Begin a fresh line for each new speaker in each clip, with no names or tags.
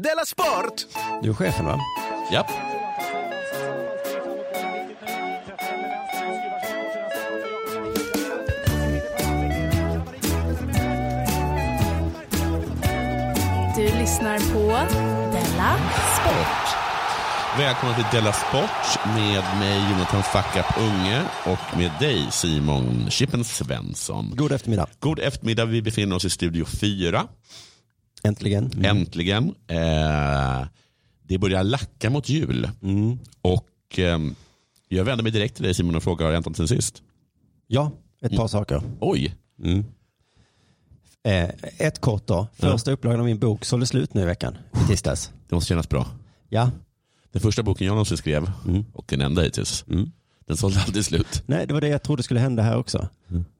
Della Sport!
Du är chefen va?
Japp.
Du lyssnar på Della Sport.
Välkomna till Della Sport med mig Jonathan Fuckup Unge och med dig Simon Chippen Svensson.
God eftermiddag.
God eftermiddag, vi befinner oss i Studio 4.
Äntligen.
Äntligen. Eh, det börjar lacka mot jul. Och ehm, jag vänder mig direkt till dig Simon och frågar, har det hänt något sen sist?
Ja, ett par saker.
Oj,
Eh, ett kort då. Första upplagan av min bok sålde slut nu i veckan. i Tisdags.
det måste kännas bra.
Ja.
Den första boken jag någonsin skrev och den enda hittills. Den sålde aldrig slut.
Nej, det var det jag trodde skulle hända här också.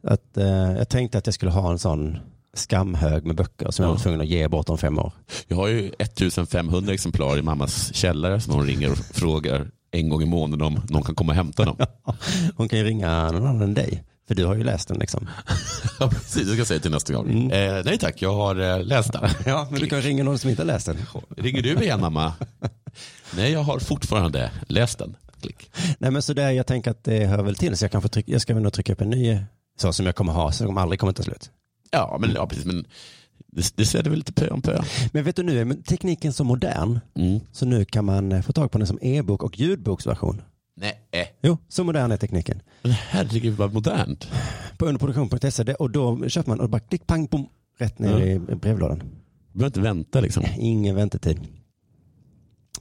Att, eh, jag tänkte att jag skulle ha en sån skamhög med böcker som jag var tvungen att ge bort om fem år.
Jag har ju 1500 exemplar i mammas källare som hon ringer och frågar en gång i månaden om någon kan komma och hämta dem.
Hon kan ju ringa någon annan än dig. För du har ju läst den liksom.
Ja, precis, det ska jag säga till nästa gång. Eh, nej tack, jag har eh, läst den.
Ja, men du kan ringa någon som inte har läst den.
Ringer du igen mamma? nej, jag har fortfarande läst den. Klick.
Nej men sådär, jag tänker att det hör väl till. Så jag, kan få trycka, jag ska väl nog trycka upp en ny, så som jag kommer ha, så de aldrig kommer ta slut.
Ja, men, ja, precis, men det, det ser det väl lite pö om pö. Mm.
Men vet du, nu är men tekniken så modern, så nu kan man eh, få tag på den som e-bok och ljudboksversion.
Nej, eh.
Jo, så modern är tekniken.
men herregud vad modernt.
På underproduktion.se, det- och då köper man och bara klick, pang, bom, rätt ner i brevlådan.
Du behöver inte vänta liksom.
Ingen väntetid.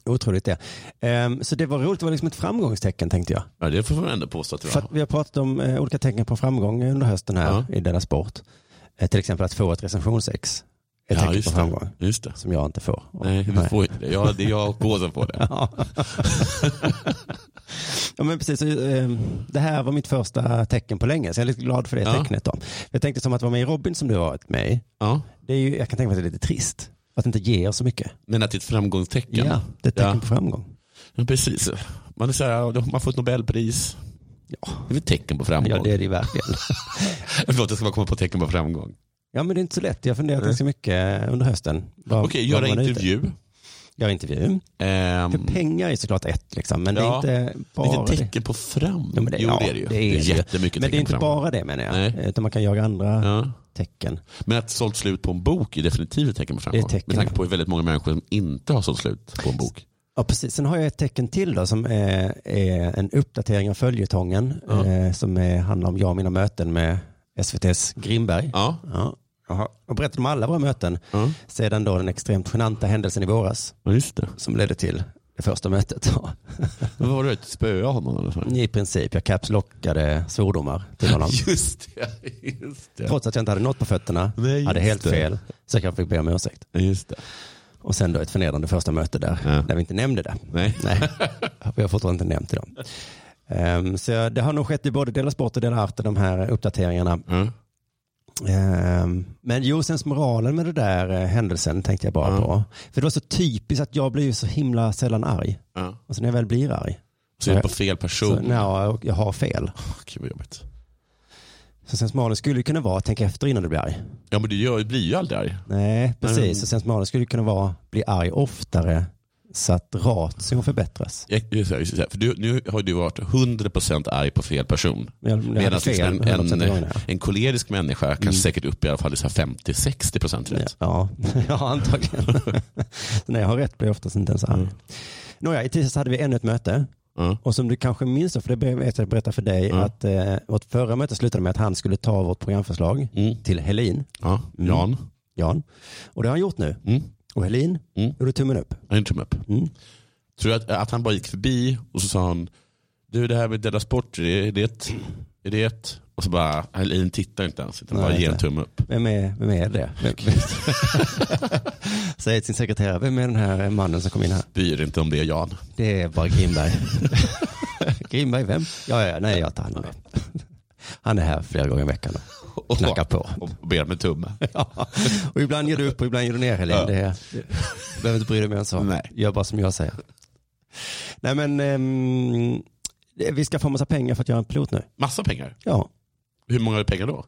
Otroligt det. Ehm, så det var roligt, det var liksom ett framgångstecken tänkte jag.
Ja, det får man ändå påstå att det
För
var.
att vi har pratat om eh, olika tecken på framgång under hösten här i denna sport. Eh, till exempel att få ett recensionsex. Ett tecken på
just
framgång.
det. Just det.
Som jag inte får.
Nej, du får inte det. Ja, det är jag och K som får det.
Ja, men precis, Så, eh, det här var mitt första tecken på länge, så jag är lite glad för det
Ja.
tecknet. Då. Jag tänkte som att vara med i Robin som du har varit med i,
Ja.
det är ju, jag kan tänka mig att det är lite trist. Att inte ge er så mycket.
Men att det är ett framgångstecken.
Det är ett tecken
Ja.
på framgång.
Ja, precis. Man, är så här, man har fått Nobelpris.
Ja.
Det är väl ett tecken på framgång.
Ja, det är det ju verkligen.
Förlåt, jag ska bara komma på tecken på framgång.
ja, men det är inte så lätt. Jag har funderat ganska mycket under hösten. Vad-
Okej, göra
vad man är ute-
intervju.
Göra intervju.
Ehm,
För pengar är såklart ett, liksom, men
Ja.
det är inte
det är
bara
ett
det.
tecken på framgång.
Ja, men det,
jo,
ja,
det är det ju.
det ju. Men
jättemycket
det är
tecken
inte
på framgång.
bara det menar jag.
Nej.
Utan man kan jaga andra
Ja.
tecken.
Men att sålt slut på en bok är definitivt ett tecken på framgång.
Det är ett tecken,
Med tanke
ja.
på hur väldigt många människor som inte har sålt slut på en bok.
Ja, precis. Sen har jag ett tecken till då, som är, är en uppdatering av följetongen eh, som är, handlar om jag och mina möten med SVTs Grimberg.
Ja.
Ja. Jaha. Och berättat om alla våra möten sedan då den extremt genanta händelsen i våras
ja, just det.
som ledde till det första mötet. då.
Vad var det? Spöa honom eller så?
I princip, jag capslockade svordomar till honom.
Just det. Just det.
Trots att jag inte hade något på fötterna,
Nej, just
hade helt
det.
fel, så jag fick be om ursäkt.
Ja, Just det.
Och sen då ett förnedrande första möte där,
Ja.
där vi inte nämnde det.
Nej.
Vi har fortfarande inte nämnt det. då. Ehm, så det har nog skett i både Dela Sport och Dela Arte, de här uppdateringarna.
Mm.
Ehm, men jo, sen moralen med det där eh, händelsen tänkte jag bara på. För det var så typiskt att jag blir ju så himla sällan arg.
Ja.
Och så när jag väl blir arg,
Så är det på fel person.
så, nja, och jag har fel.
Åh, Gud vad jobbigt.
Så sen moralen skulle ju kunna vara att tänka efter innan du blir arg.
Ja men du gör, du blir ju aldrig arg.
Nej, precis. Och sen moralen skulle ju kunna vara bli arg oftare så att ration förbättras.
Jag- just det, just det. För du, nu har du varit 100% arg på fel person.
Men jag- jag hade
Medan
fel
liksom
100%
en,
av
en,
gångerna.
en kolerisk människa kanske säkert upp i alla fall i så här 50-60% rätt.
Ja, ja antagligen. Så när jag har rätt blir jag oftast inte ens arg. Nåja, i tisdags hade vi ännu ett möte.
Ja.
Och som du kanske minns, då, för det vet jag berätta för dig, att eh, vårt förra möte slutade med att han skulle ta vårt programförslag
Mm.
till Helin, Mm.
Ja. Jan,
Jan. Och det har han gjort nu. Och Helin gjorde tummen upp.
han gjorde tumme upp. Tror du att, att han bara gick förbi och så sa han, du det här med Della Sport, är det ett? Är det ett? Och så bara, Helin tittar inte ens, utan
Nej,
bara ger en
nej.
tumme upp.
Vem är, vem är det? Vem, Säger till sin sekreterare, vem är den här mannen som kom in här?
Bryr inte om det Jan.
Det är bara Grimberg. Grimberg vem? Ja, ja, ja, nej jag tar hand om det. Han är här flera gånger i veckan och knackar på.
Och ber om en tumme.
Ja. Och ibland ger du upp och ibland ger du ner Helene.
Ja.
Det är- Du behöver inte bry dig mer än så.
Nej.
Gör bara som jag säger. Nej men, ehm, vi ska få massa pengar för att göra en pilot nu.
Massa pengar.
Ja,
Hur många pengar då?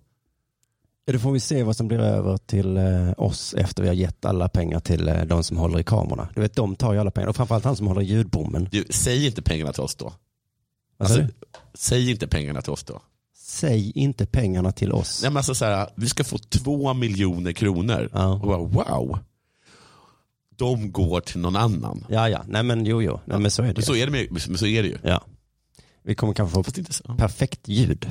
Då får vi se vad som blir över till eh, oss efter vi har gett alla pengar till eh, de som håller i kamerorna. Du vet, de tar ju alla pengar. Och framförallt han som håller i ljudbommen.
Du, säg inte pengarna till oss då.
Vad sa du?
Alltså, Säg inte pengarna till oss då.
Säg inte pengarna till oss.
Nej, men alltså, så här, vi ska få två miljoner kronor.
Ja.
Och bara, wow. De går till någon annan.
Ja, ja. Nej, men jo, jo. Nej, men så är det
Men
ju.
så är det, med, men så är det ju.
Ja. Vi kommer kanske få
Fast inte så.
perfekt ljud.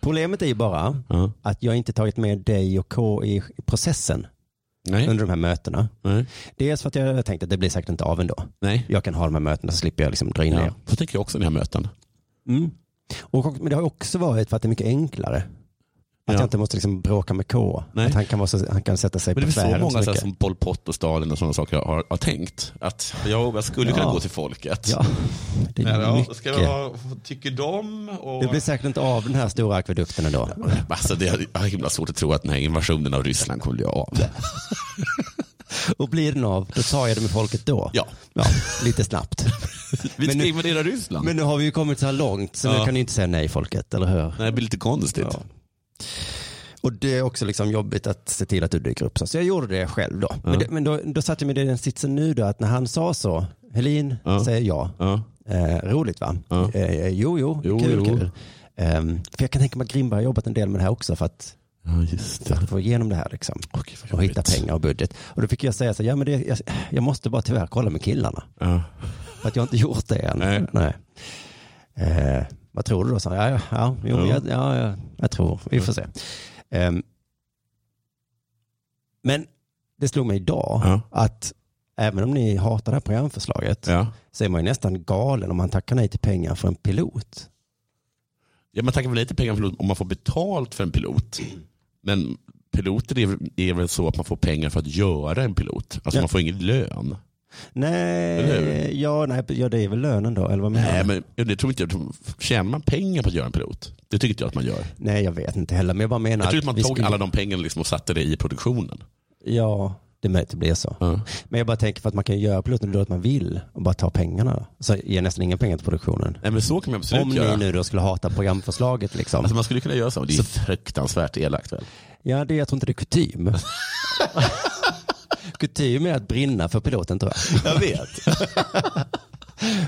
Problemet är ju bara
Ja.
att jag inte tagit med dig och K i processen
Nej.
under de här mötena.
Nej.
Dels för att jag tänkte att det blir säkert inte av ändå.
Nej.
Jag kan ha de här mötena så slipper jag liksom dra in er.
Ja. Så tänker jag också när jag möter henne.
Mm. Och, men det har ju också varit för att det är mycket enklare. Att
Ja.
jag inte måste liksom bråka med K.
Nej.
Att han kan, vara så, han kan sätta sig
Men det
på
är väl så
tvären
många så här,
mycket.
som Pol Pot och Stalin och sådana saker har, har tänkt. Att jag, jag skulle kunna
Ja.
gå till folket.
Ja, det är
Ja,
mycket.
ska vi ha, vad tycker de? Och...
Det blir säkert inte av den här stora akvedukten ändå.
Alltså, det är jag har himla svårt att tro att den här invasionen av Ryssland kommer bli av.
Och blir den av, då tar jag det med folket då.
Ja.
lite snabbt.
Vi
Men
ska
nu-
invadera Ryssland.
Men nu har vi ju kommit så här långt så nu
Ja.
kan ni inte säga nej folket, eller hur?
Nej, det blir lite konstigt.
Ja. Och det är också liksom jobbigt att se till att du dyker upp. Så Så jag gjorde det själv då. Men, det, men då, då satte jag mig i den sitsen nu då att när han sa så, Helin
Ja.
säger ja.
Ja.
Eh, roligt va?
Ja.
Eh, jo, jo,
Jo,
kul,
jo.
kul. Ehm, för jag kan tänka mig att Grimberg har jobbat en del med det här också för att,
Ja, just
för att få igenom det här liksom.
Okej, vad
Och hitta
jobbigt.
pengar och budget. Och då fick jag säga så här, ja men det, jag, jag måste bara tyvärr kolla med killarna.
Ja.
För att jag har inte gjort det än.
Nej.
Eh, vad tror du då? Så, ja, ja, ja, jo,
Ja.
Jag, ja, ja, jag tror. Vi får se. Ehm, men det slog mig idag
Ja.
att även om ni hatar det här programförslaget
Ja.
så är man ju nästan galen om man tackar nej till pengar för en pilot.
ja, man tackar väl lite pengar för pilot om man får betalt för en pilot. Men piloter är, är väl så att man får pengar för att göra en pilot. Alltså
Ja.
man får ingen lön. Eller
Nej, ja, nej ja, det är väl lönen då, eller vad menar
Nej,
du?
men det tror inte jag. Tjänar man pengar på att göra en pilot? Det tycker inte jag att man gör.
Nej, jag vet inte heller, men jag bara menar
Jag tror att man
vi
tog
skulle-
alla de pengarna liksom och satte det i produktionen.
Ja, det är möjligt det blir så.
Ja.
Men jag bara tänker för att man kan ju göra piloten då att man vill och bara ta pengarna. Så ger nästan inga pengar till produktionen.
Nej, men så kan man absolut
Om
göra.
ni nu då skulle hata programförslaget liksom.
Alltså man skulle kunna göra så. Det är fruktansvärt elakt väl?
Ja, det, jag tror inte det är kutym. kutym är att brinna för piloten tror jag.
Jag vet.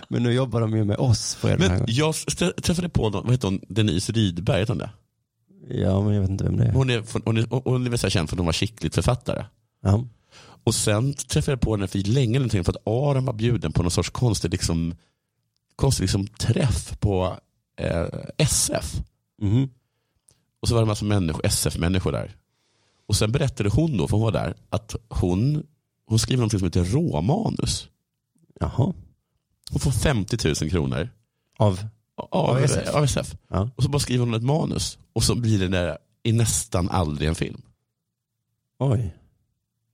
Men nu jobbar de ju med oss. För den här
Men jag st- träffade på någon, vad heter hon, Denise Rydberg, heter hon det?
Ja, men jag vet inte vem det är.
Hon är, från- hon är, hon är väl så här känd för att hon var Chicklit-författare.
Ja.
Och sen träffade jag på henne för länge sedan för att Aron var bjuden på någon sorts konstig, liksom, konstig liksom, träff på eh, SF.
Mhm.
Och så var det en massa människor, SF-människor där. Och sen berättade hon då, för hon var där, att hon, hon skriver någonting som heter råmanus.
Jaha.
Hon får 50 000 kronor
Av?
av,
Av SF.
Av SF.
Ja.
Och så bara skriver hon ett manus. Och så blir det där, i nästan aldrig en film.
Oj.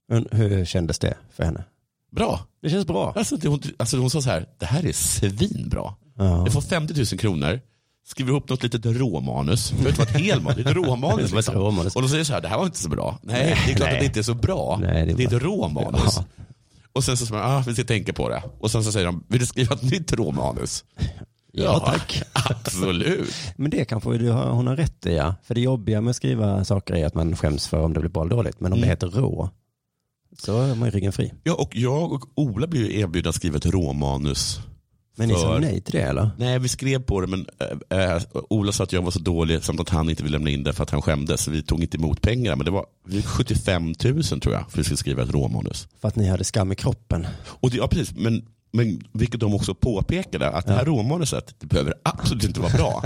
Men hur kändes det för henne?
Bra.
Det känns bra.
Alltså, det, hon, alltså hon sa så här, det här är svinbra.
Ja.
Jag får 50 000 kronor, skriver ihop något litet råmanus. Det behöver inte vara ett helmanus, det är ett råmanus.
Det var ett
Liksom.
råmanus.
Och de säger så här, det här var inte så bra. Nej, det är klart
Nej.
att det inte är så bra.
Nej, det
det,
är
är ett råmanus.
Ja.
Och sen så säger man, ah, vi ska tänka på det. Och sen så säger de, vill du skriva ett nytt råmanus?
Ja, tack.
Absolut.
Men det kanske du har, hon har rätt i ja. För det jobbiga med att skriva saker är att man skäms för om det blir bra eller dåligt. Men
Mm.
om det heter rå så är man ju ryggen fri.
Ja, och jag och Ola blev ju erbjudna att skriva ett råmanus.
Men ni sa
För-
nej till det eller?
Nej, vi skrev på det, men eh, eh, Ola sa att jag var så dålig samt att han inte ville lämna in det för att han skämdes. Så vi tog inte emot pengarna, men det var vi fick 75 000 tror jag för att vi skulle skriva ett råmanus.
För att ni hade skam i kroppen.
Och det, ja, precis, men, men vilket de också påpekade, att det här råmanuset det behöver absolut inte vara bra.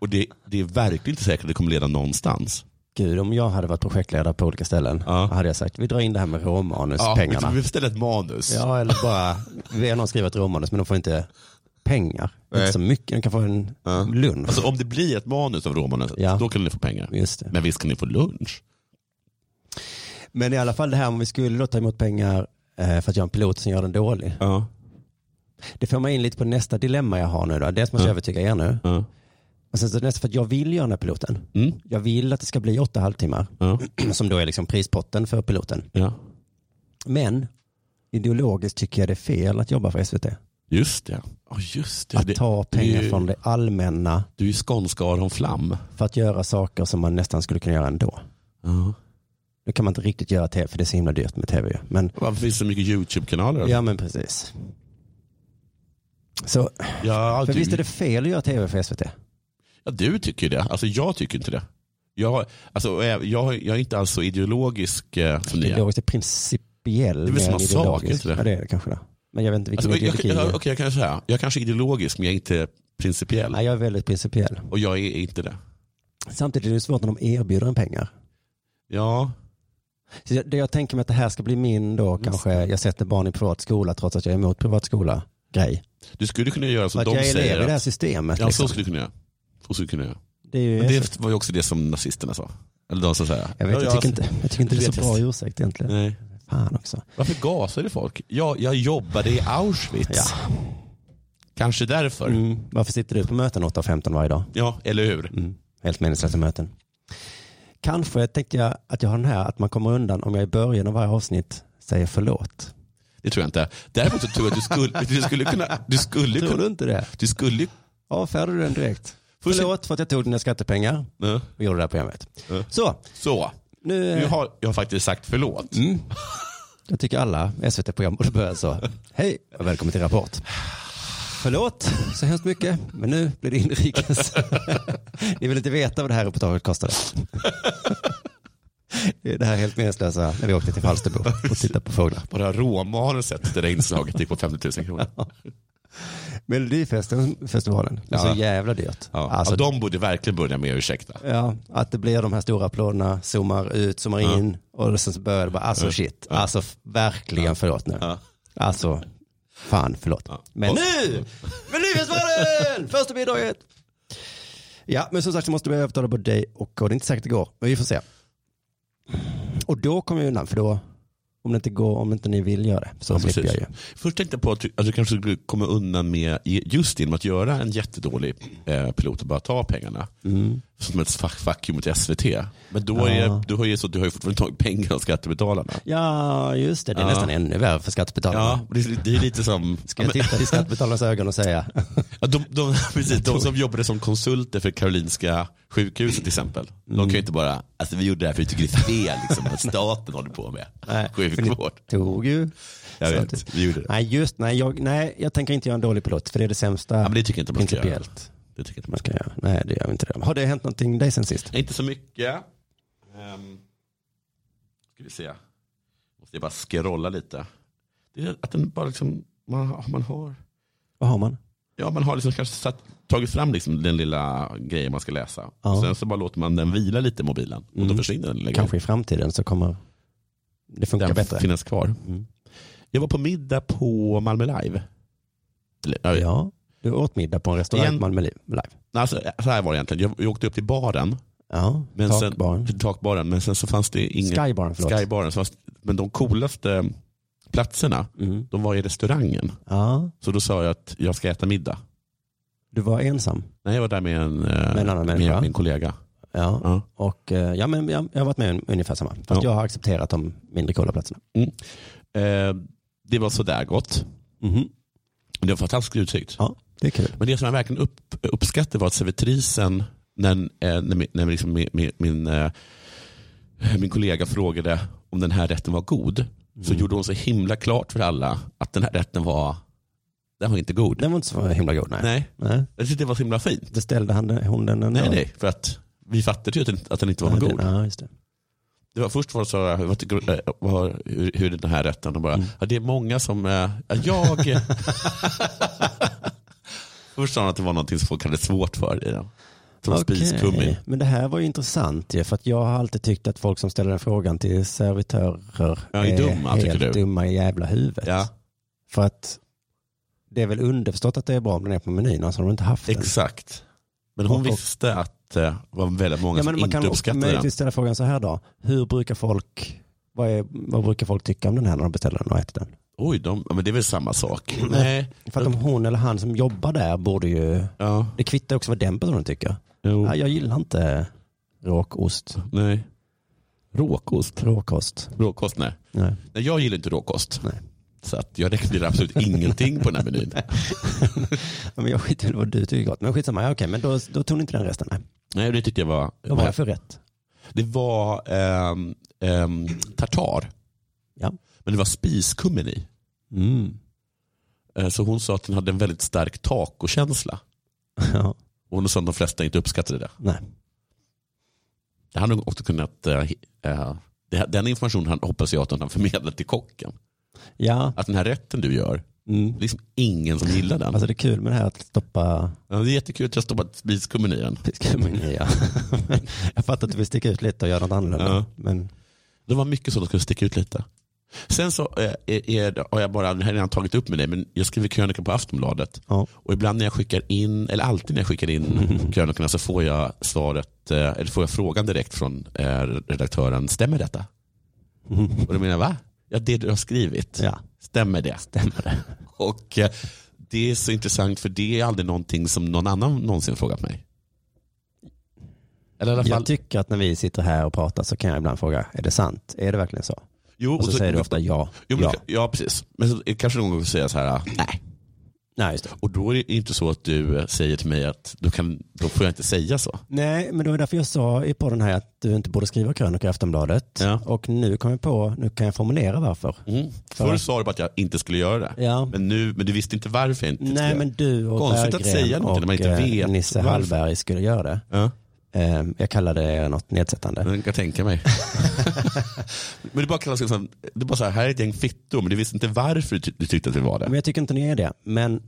Och det, det är verkligen inte säkert att det kommer leda någonstans.
Gud, om jag hade varit projektledare på olika ställen
Ja.
hade jag sagt vi drar in det här med råmanuspengarna.
vi beställer ett manus.
Ja, eller bara, vi har någon skrivit råmanus men de får inte pengar. Inte
Nej.
så mycket, de kan få en lunch.
Alltså, om det blir ett manus av råmanuset,
Ja.
då kan ni få pengar.
Just det.
Men visst kan ni få lunch?
Men i alla fall det här om vi skulle då ta emot pengar eh, för att göra en pilot som gör den dålig.
Ja.
Det får mig in lite på nästa dilemma jag har nu då. Dels måste jag övertyga er nu.
Ja.
Och sen så nästa, för att jag vill göra den här piloten.
Mm.
Jag vill att det ska bli åtta halvtimmar
Ja.
som då är liksom prispotten för piloten.
Ja.
Men ideologiskt tycker jag det är fel att jobba för SVT.
Just det. Ja, just det.
Att
det
ta pengar
ju-
från det allmänna
du är ju skånska Aron Flam.
för att göra saker som man nästan skulle kunna göra ändå.
Ja.
Nu kan man inte riktigt göra tv för det är så himla dyrt med tv ju. Men,
Varför finns det så mycket YouTube-kanaler?
ja men precis. Så,
Ja,
för
du,
visst är det fel att göra tv för SVT?
ja, du tycker ju det. Alltså, jag tycker inte det. Jag, alltså, eh, jag, jag är inte alls så ideologisk eh, som ni är.
Ideologiskt är principiell.
Det är väl
mer
samma
än
sak,
ideologisk.
inte det?
Ja det är det kanske det. Men jag vet inte vilken
Alltså, jag, jag,
ideologi. det är.
jag, okej, jag kan säga, jag kanske är ideologisk men jag är inte principiell.
Nej, jag är väldigt principiell.
Och jag är inte det.
Samtidigt är det svårt när de erbjuder en pengar.
Ja,
Så jag, det jag tänker mig att det här ska bli min då
Mm.
kanske, jag sätter barn i privat skola trots att jag är emot privat skola grej.
du skulle kunna göra
För
som
att
de
jag är elev i
säger.
det här
Att,
systemet.
ja,
liksom.
så skulle du kunna göra. Så skulle du kunna göra.
det är ju,
Men det var ju också det som nazisterna sa. Eller de som säger.
jag, vet,
Ja,
jag,
ja,
tycker inte, jag tycker inte det är
vet
så
jag.
bra ursäkt egentligen.
Nej.
Fan också.
Varför gasade folk? Jag, jag jobbade i Auschwitz.
Ja.
Kanske därför.
Mm. Varför sitter du på möten 8.15 varje dag?
Ja, eller hur?
Mm. Helt meningslösa möten. Kanske tänker jag att jag har den här att man kommer undan om jag i början av varje avsnitt säger förlåt.
Det tror jag inte. Däremot så tror jag att du skulle, du skulle kunna... Du skulle
Tror
kunna...
du inte det?
Du skulle...
Avfärdar du den direkt?
Först-
Förlåt för att jag tog dina skattepengar
Ja.
och gjorde det här programmet.
Ja.
Så,
Så.
nu...
Nu har jag har faktiskt sagt förlåt.
Mm. Jag tycker alla SVT-program borde börja så. Hej och välkommen till Rapport. Förlåt så hemskt mycket, men nu blir det inrikes. Ni vill inte veta vad det här reportaget kostade. Det är det här helt meningslösa när vi åkte till Falsterbo och tittade på fåglar.
Bara råmanuset, det där inslaget, gick på 50 000 kronor.
Melodifestivalen, det är
Ja.
så jävla dyrt.
Ja.
Alltså,
ja, de borde verkligen börja med att ursäkta.
ja, att det blir de här stora applåderna, zoomar ut, zoomar in och sen så börjar det bara, alltså shit, alltså f- verkligen förlåt nu.
Ja.
Alltså, fan förlåt. Men
Och-
nu! Men nu är svaren! Första bidraget! Ja, men som sagt så måste vi övertala både dig och och det är inte säkert det går, men vi får se. Och då kommer jag undan, för då, om det inte går, om inte ni vill göra det, så
Ja,
slipper jag ju.
Först tänkte jag på att du, att du kanske skulle komma undan med just genom att göra en jättedålig eh, pilot och bara ta pengarna. Som ett fuck, fuck you mot SVT. Men då är,
Ja.
det- då är det så att du har ju fortfarande tagit pengar av skattebetalarna.
Ja, just det, det är
Ja.
nästan ännu värre för skattebetalarna.
Ja, det, är- det är lite som...
Ska jag titta i skattebetalarnas ögon och säga,
Ja, de, de, precis, de som jobbade som konsulter för Karolinska sjukhuset till exempel. De kan ju inte bara, alltså vi gjorde det här för vi tycker det är fel liksom, att staten håller på med
Nej,
sjukvård.
tog ju.
Jag
Så
vet,
att-
vi gjorde det.
Nej, just nej jag, nej, jag tänker inte göra en dålig pilot, för det är det sämsta
Ja, men det tycker jag inte man ska göra.
principiellt
Det tycker jag inte man
man
ska
ska göra. Nej, det gör vi inte det. Har det hänt någonting dig sen sist?
Inte så mycket. Um, ska vi se. Måste jag bara scrolla lite. Det är att den bara liksom, man, man har,
Vad har man?
ja, man har liksom kanske satt, tagit fram liksom den lilla grejen man ska läsa.
Ja. Mm.
Sen så bara låter man den vila lite i mobilen och då försvinner den lilla
Kanske i framtiden så kommer det funka
grejen. Den
bättre.
finnas kvar.
Mm.
Jag var på middag på Malmö Live. Eller, ja,
Ja, du åt middag på en restaurang
Igen.
på Malmö Liv- Live.
Alltså, så här var det egentligen. Jag, jag åkte upp till baren.
Ja,
Men
takbaren.
Sen, takbaren. Men sen så fanns det ingen
Skybaren, förlåt.
Skybaren. så fast- Men de coolaste platserna,
Mm.
de var i restaurangen.
Ja,
Så då sa jag att jag ska äta middag.
du var ensam.
Nej, jag var där med en, eh,
Med en annan människa.
med min kollega.
Ja,
Ja.
och eh, ja, men jag, jag har varit med om ungefär samma. Fast
Ja.
jag har accepterat de mindre coola platserna.
Eh, det var sådär gott. Det var fantastiskt utsikt.
Ja, Mhm. det är kul.
Men det som jag verkligen upp, uppskattade var att servitrisen, när, eh, när, min- när liksom min, min, min, eh, min kollega frågade om den här rätten var god,
Mm.
så gjorde hon så himla klart för alla att den här rätten var, den var inte god.
Den var inte så himla god, nej.
Nej,
nej.
jag tyckte det var så himla fint.
Då ställde han, hon den ändå.
Nej, nej, för att vi fattade ju att den, att den inte var
Nej,
god.
det- Ja, just det.
Det var först var det så, här, vad tycker, eh, vad, hur, hur är den här rätten? Och bara, ja, det är många som, eh, ja, jag... först sa han att det var någonting som folk hade svårt för i den. Som
Okej.
spiskummin.
Men det här var ju intressant ju, för att jag har alltid tyckt att folk som ställer den frågan till servitörer
Ja, är dumma,
helt
tycker du?
dumma i jävla huvudet.
Ja,
För att det är väl underförstått att det är bra om den är på menyn, annars har de inte haft den.
exakt. Men hon
Och- och-
visste att eh, det var väldigt många
Ja,
som
men man
inte
kan också
uppskattade den.
möjligtvis ställa frågan så här då. Hur brukar folk, vad, är, vad brukar folk tycka om den här när de beställer den och äter den?
Oj, de, ja, men det är väl samma sak. Nej,
För att om hon eller han som jobbar där borde ju,
ja,
det kvittar också vad den personen tycker.
jo,
Ja, jag gillar inte råkost.
nej. Råkost?
Råkost.
Råkost, nej.
Nej.
nej. Jag gillar inte råkost.
Nej.
Så att jag rekommenderar absolut ingenting på den här menyn.
Ja, men jag skiter i vad du tycker är gott. Men skitsamma, ja, okej, men då, då tog ni inte den resten. Nej.
Nej, det tyckte jag var...
Vad var det för rätt?
Det var ehm, ehm, tartar.
Ja.
Men det var spiskummin i.
Mm.
Eh, Så hon sa att den hade en väldigt stark tacokänsla.
Ja,
Och hon sa att de flesta inte uppskattade det.
nej.
Det hade hon också kunnat... eh, hi- eh, det- Den informationen han- hoppas jag att han förmedlar till kocken.
Ja,
Att den här rätten du gör,
mm.
det är liksom ingen som gillar den.
alltså det är kul med det här att stoppa
Ja, Det är jättekul att jag stoppat spiskummin i den.
skummin i. Ja. jag fattar att du vill sticka ut lite och göra något annorlunda.
Ja.
Men
Det var mycket så de skulle sticka ut lite. Sen så eh, är, är, har jag bara, det här har jag redan tagit upp med dig, men jag skriver krönika på Aftonbladet.
ja.
Och ibland när jag skickar in, eller alltid när jag skickar in krönikorna så får jag svaret, eh, eller får jag frågan direkt från eh, redaktören, stämmer detta? Och då menar jag, va? Ja, det du har skrivit,
Mm. ja.
stämmer det? Stämmer det. Och eh, det är så intressant för det är aldrig någonting som någon annan någonsin frågat mig. Eller i alla fall,
Jag tycker att när vi sitter här och pratar så kan jag ibland fråga, är det sant? Är det verkligen så?
jo,
Och så, Alltså, säger du ofta ja.
jo, men,
ja.
ja. precis. Men så, kanske någon gång säger jag så här, nej.
Nej, just det.
Och då är det inte så att du eh, säger till mig att då, kan, då får jag inte säga så.
Nej, men det var därför jag sa i podden här att du inte borde skriva krönika i Aftonbladet.
Ja.
Och nu kom jag på, nu kan jag formulera varför.
Mm.
Ja.
Förr sa du bara att jag inte skulle göra det.
Ja.
Men, nu, men du visste inte varför jag inte skulle
Nej,
göra
men du och
Konstigt att
Berggren
säga någonting när man inte
och eh,
vet
Nisse
varför.
Hallberg skulle göra det.
det. Ja,
Eh, Jag kallade er något nedsättande.
jag kan tänka mig. men det är bara, kallas, liksom- det är bara så här, här är ett gäng fittor, men du visste inte varför du ty- du tyckte att vi var det.
Men jag tycker inte ni är det. Men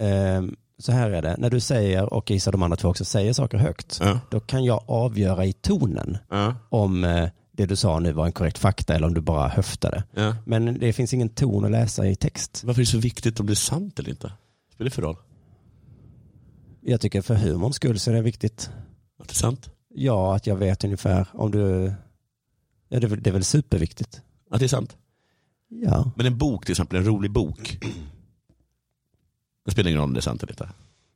ehm, så här är det, när du säger och gissar de andra två också säger saker högt,
Ja.
då kan jag avgöra i tonen
Ja.
om eh, det du sa nu var en korrekt fakta eller om du bara höftade.
Ja.
Men det finns ingen ton att läsa i text.
Varför är det så viktigt om det är sant eller inte? Spelar det för roll?
Jag tycker för humorns skull så är det viktigt.
Att det är sant?
Ja, att jag vet ungefär om du... Ja, det, är väl- det är väl superviktigt.
Att det är sant?
Ja,
Men en bok till exempel, en rolig bok. Det spelar ingen roll om det är sant eller inte.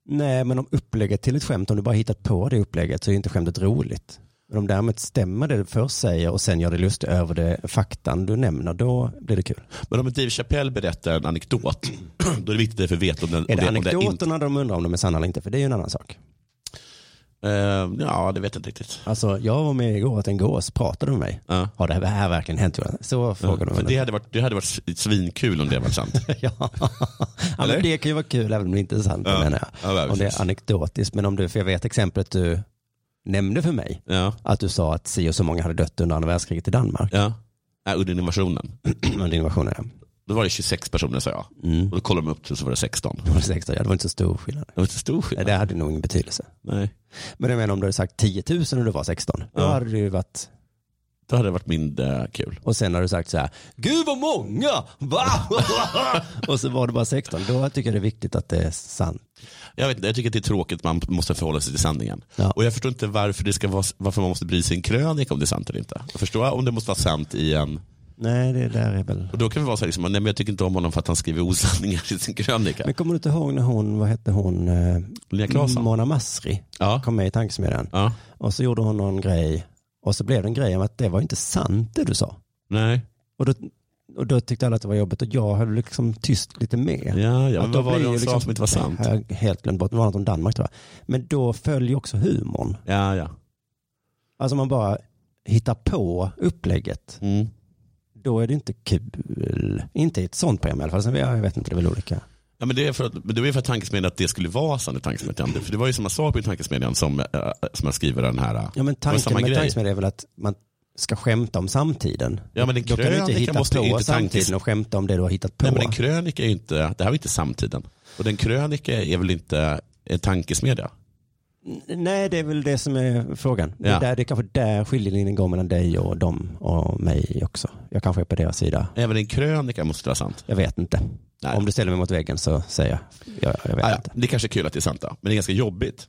nej men om upplägget till ett skämt, om du bara hittat på det upplägget så är inte skämtet roligt. Men om däremot stämmer det du först säger och sen gör dig lustig över det faktan du nämner, då blir det kul.
Men om Dave Chappelle berättar en anekdot, då är det viktigt att vi vet om den
Är
om
det
om den inte-
anekdoterna de undrar om de är sanna eller inte? För det är ju en annan sak.
Eh, ja, det vet jag inte riktigt.
Alltså, jag var med igår att en gås pratade med mig.
Ja.
Har det här verkligen hänt? Jonas? Så frågar de
Mm, För det
henne.
hade, varit, det hade varit svinkul om det hade varit sant.
ja. ja,
Eller?
men det kan ju vara kul även om det inte är sant,
Ja.
menar jag.
Ja,
Om det
precis.
är anekdotiskt, men om du, för jag vet exemplet du nämnde för mig,
ja,
att du sa att si och så många hade dött under andra världskriget i Danmark
ja. Nej, under invasionen.
under invasionen.
Då var det 26 personer sa jag.
Mm.
Och då kollade de upp till så var det 16.
Och det sexta, ja, det var inte så stor skillnad.
Det var inte stor
Nej,
skillnad.
det hade nog ingen betydelse.
Nej.
Men jag menar om du hade sagt 10 000 och du var 16, då
Ja.
hade det ju varit,
Då hade det varit mindre kul.
och sen har du sagt så här, gud vad många, va? och så var det bara 16, då tycker jag det är viktigt att det är sant.
Jag, vet, inte, jag tycker att det är tråkigt, man måste förhålla sig till sanningen.
Ja.
Och jag förstår inte varför, det ska vara, varför man måste bry sig i en krönika om det är sant eller inte. Jag förstår om det måste vara sant i en...
Nej, det där är väl...
Och då kan vi vara så här, liksom, nej, men jag tycker inte om honom för att han skriver osanningar i sin krönika.
Men kommer du inte ihåg när hon, vad hette hon, eh,
Linnea Claesson?
Mona Masri
Ja.
kom med i tankesmedjan.
Ja.
Och så gjorde hon någon grej och så blev det en grej om att det var inte sant det du sa.
Nej.
Och då, och då tyckte alla att det var jobbigt och jag höll liksom tyst lite med.
Ja, ja.
Att
Men
då
vad var
blir
det
ju
hon sa
liksom-
som inte var sant?
Jag har helt glömt bort, det var något om Danmark tror jag. Men då följer ju också humorn.
Ja, ja.
Alltså man bara hittar på upplägget.
Mm.
Då är det inte kul. Inte i ett sånt program i alla fall. Sen, jag vet inte, det är väl olika.
Ja, men det, är för att, men det var ju för att tankesmedjan att det skulle vara sann i tankesmedjan. För det var ju samma sak i tankesmedjan som, eh, som jag skriver den här. eh.
Ja men
var
tanken
samma
med
grej.
tankesmedjan är väl att man ska skämta om samtiden.
Ja, men en
Då kan du inte
krönika
hitta
måste
på
ju inte
samtiden
tankes-
och skämta om det du har hittat på.
Nej, men en krönika är ju inte, det här var ju inte samtiden. Och den krönika är väl inte en tankesmedja?
Nej, det är väl det som är frågan. Det,
Ja.
är där, det är kanske där skiljelinjen går mellan dig och dem och mig också. Jag kanske är på deras sida.
Även en krönika måste vara sant.
Jag vet inte.
Nej.
Om du ställer mig mot väggen så säger jag. Jag, jag vet
Ah,
inte.
ja. Det kanske är kul att det är sant då, men det är ganska jobbigt.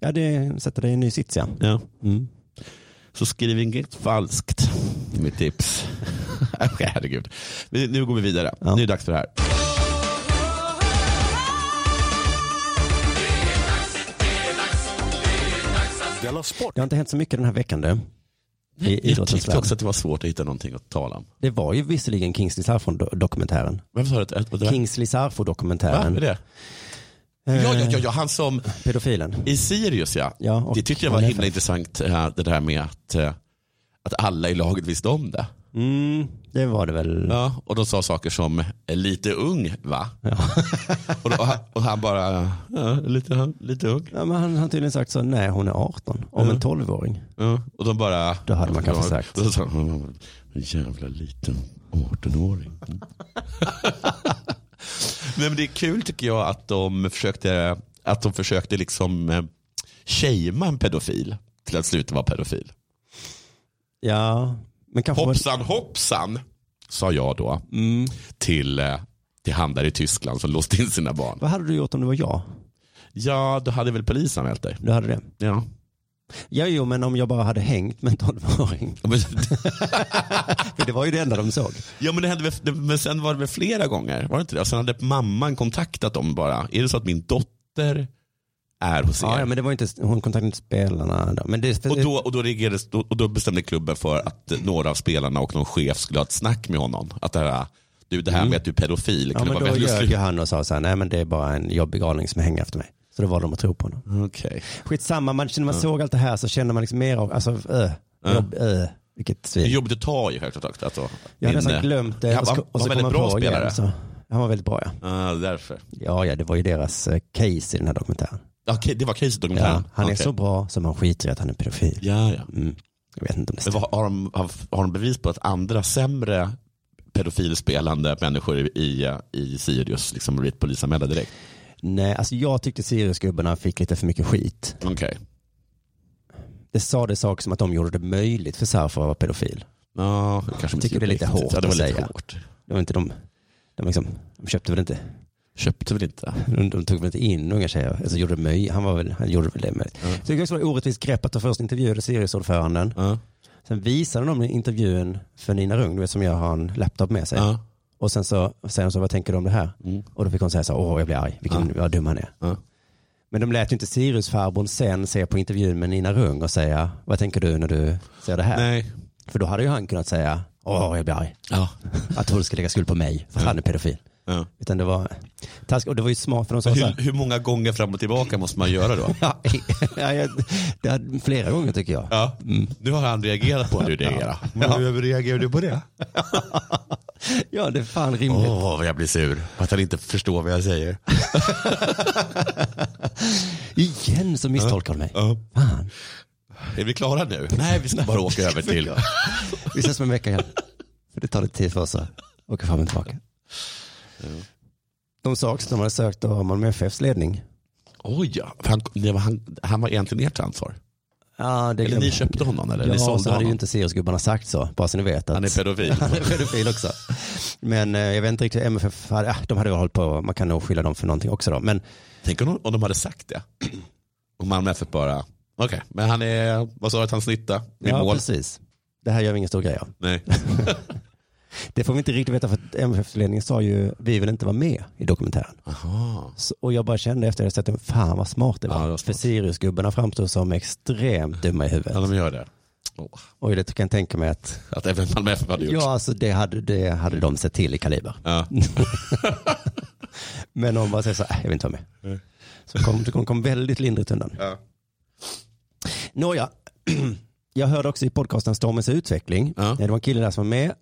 Ja, det sätter dig i en ny sits ja.
Ja.
Mm.
Så skriv inget falskt, Det är mitt tips. okay, herregud. Men nu går vi vidare,
Ja.
nu är det dags för det här.
Sport.
Det har inte hänt så mycket den här veckan du. i
Jag
idrottens
tyckte
värld.
också att det var svårt att hitta någonting att tala om.
Det var ju visserligen Kingsley Sarfo-dokumentären.
Vem sa det? Vad det?
Kingsley
Va?
Sarfo-dokumentären.
Vad är det? Ja, ja, ja, ja, han som
Pedofilen.
i Sirius ja.
Eh. Ja, och
det tyckte jag var
han är
himla intressant eh, det där med att, eh, att alla i laget visste om det.
Mm, det var det väl.
Ja, och de sa saker som "Eh, lite ung va? och, då, och, han, och han bara, ja, lite, lite ung.
Ja, men han har tydligen sagt så, nej hon är 18, om en 12-åring.
Ja, och de bara...
Det hade man kanske
Ja,
sagt.
Då sa de, "Mm, en jävla liten 18-åring. Nej, men det är kul tycker jag att de försökte, att de försökte liksom eh, shamea en pedofil till att sluta vara pedofil.
Ja, men kanske...
Hoppsan hoppsan, sa jag då
Mm.
till, eh, till han där i Tyskland som låste in sina barn.
Vad hade du gjort om det var jag?
Ja, då hade väl polisanmält dig.
Du hade det?
Ja.
Ja, jo, men om jag bara hade hängt med en 12-åring.
Men,
För det var ju det enda de såg.
ja, men, det hände, väl- det- men sen var det väl flera gånger? Var det inte det? Och sen hade mamman kontaktat dem bara. Är det så att min dotter är hos er?
Ja, ja, men det var inte, hon kontaktade inte spelarna. Då. Men det,
Och då, och, då reagerades, och då bestämde klubben för att några av spelarna och någon chef skulle ha ett snack med honom. Att det här, du, det här med att du är pedofil,
Mm. ja,
kan du
men
vara
då
vänlig och
ljög ju
sluta?
han och sa så här, nej men det är bara en jobbig galning som hänger efter mig. Så då var de att tro på honom.
Okej.
Skitsamma, man, när man såg allt det här så kände man liksom mer av, alltså ö, jobb, ö, vilket
Det är
svin.
jobbigt att ta i självklart också. Att då,
Jag hade
din,
nästan
eh,
glömt det.
Han
och så-
var-
och så
var väldigt
kom man
bra
på igen,
spelare.
så- Han var väldigt bra ja.
Ah, därför.
Ja, ja, det var ju deras eh, case i den här dokumentären.
Okej, det var
Ja,
Casey-dokumentären.
han är
Okej.
så bra som han skiter i att han är pedofil.
Ja, ja.
Mm. Jag vet inte om det
Men
stämmer.
vad, har, de, har, har de bevis på att andra sämre pedofilspelande människor i, i, i Sirius liksom blivit polisanmälda direkt?
Nej, alltså jag tyckte Siriusgubbarna fick lite för mycket skit.
Okej.
Det sades saker som att de gjorde det möjligt för Sarfo att vara pedofil.
Ja, det kanske inte
Tycker det är lite
riktigt.
hårt
ja, det var
att
lite
säga.
Hårt.
Det var inte de, de, liksom, de köpte väl inte,
Köpte väl inte.
de, de tog väl inte in unga tjejer. Alltså gjorde det möjligt. Han, var väl, han gjorde väl det möjligt.
Ja.
Så det kan också vara orättvist grepp att de först intervjuade Siriusordföranden.
Ja.
Sen visade de intervjun för Nina Rung, du vet som jag har en laptop med sig.
Ja.
Och sen så säger hon så, vad tänker du om det här?
Mm.
Och då fick hon säga så här, åh jag blir arg, vilken vad dum han är.
Ja.
Men de lät ju inte Siriusfarbrorn sen se på intervjun med Nina Rung och säga, vad tänker du när du ser det här?
Nej.
För då hade ju han kunnat säga, åh jag blir arg,
Ja.
att hon ska lägga skuld på mig, för att han är pedofil.
Ja.
Utan det var taskigt, och det var ju smart för de sa så här,
Hur, hur många gånger fram och tillbaka måste man göra då?
ja, jag- det hade flera gånger tycker jag.
Ja. Nu har han reagerat på hur du reagerar. Mm. Hur reagerar du på det?
Ja, det är fan rimligt.
Åh, vad jag blir sur. Att han inte förstår vad jag säger.
Igen så misstolkar de mig.
Ja.
Fan.
Är vi klara nu? Nej, vi ska bara åka över till...
Vi ses om en vecka igen. För det tar lite tid för oss att åka fram och tillbaka. De sa också att de hade sökt av Malmö FFs ledning.
Oj, ja. han, det var, han, han var egentligen ert ansvar.
Ja, det
Eller ni köpte honom eller?
Ja,
ni
så
sålde
hade
honom.
ju inte Siriusgubbarna sagt så, bara så ni vet. Att
Han är pedofil.
Han är pedofil också. Men eh, jag vet inte riktigt, MFF, hade, ah, de hade väl hållit på, man kan nog skylla dem för någonting också då. Men
Tänk om, de- om de hade sagt det. Och Malmö FF bara, okej, men han är, vad sa du att han snittade? I
ja,
mål?
precis. Det här gör vi ingen stor grej av.
Nej.
Det får vi inte riktigt veta för att MFF-ledningen sa ju, vi vill inte vara med i dokumentären.
Aha.
Så, och jag bara kände efter att jag sett den, fan vad smart det var.
Ja, det var
För
smart.
Siriusgubbarna framstod som extremt dumma i huvudet.
Ja, de gör det. Åh,
Och det kan jag tänka mig att,
att även Malmö FF hade gjort.
ja alltså det hade, det hade de sett till i Kaliber.
Ja.
Men om man säger så här, "Äh, jag vill inte vara med.
Nej.
Så kom, de kom, kom väldigt lindrigt undan.
Ja.
Nåja, jag hörde också i podcasten Stormens utveckling,
Ja.
Eh, det var en kille där som var med,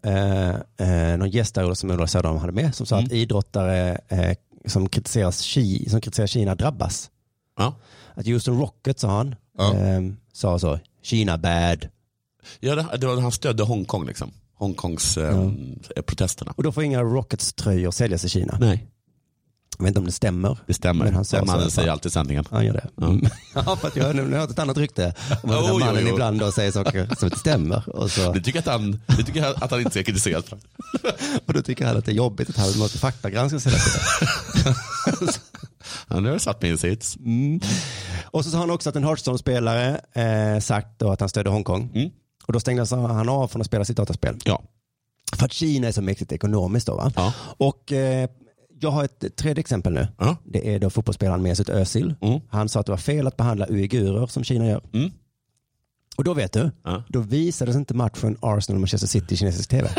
eh, eh, någon gäst där som Ola Söderholm hade med, som sa
Mm.
att idrottare eh, som, kritiseras, Ki- som kritiserar Kina drabbas.
Ja.
Att Houston Rockets sa han,
Ja.
eh, sa så, Kina bad.
Ja, det, det var, han stödde Hongkong liksom. Hongkongs eh, protesterna.
Och då får inga Rockets-tröjor säljas i Kina.
Nej,
Jag vet inte om det stämmer.
det stämmer.
Men han sa
Den
så i alla
mannen
fall.
säger alltid sanningen.
Han gör det. Mm.
Ja.
Ja, för att jag har nu- nu har jag ett annat rykte om att den här
Oj, oj,
mannen
oj.
ibland då säger saker som inte stämmer. Och, så,
Du tycker att han, du tycker att han inte ska kritiseras?
och då tycker han att det är jobbigt att han måste faktagranskas hela tiden.
Han har satt mig i en sits.
Och så sa han också att en Hearthstone-spelare eh, sagt då att han stödde Hongkong.
Mm.
Och då stängdes han av från att spela sitt dataspel.
Ja.
För att Kina är så mäktigt ekonomiskt då va?
Ja.
Och eh, jag har ett tredje exempel nu.
Ja.
Det är då fotbollsspelaren Mesut Özil.
Mm.
Han sa att det var fel att behandla uigurer som Kina gör.
Mm.
Och då vet du,
Ja.
då visades inte matchen Arsenal-Manchester City i kinesisk tv.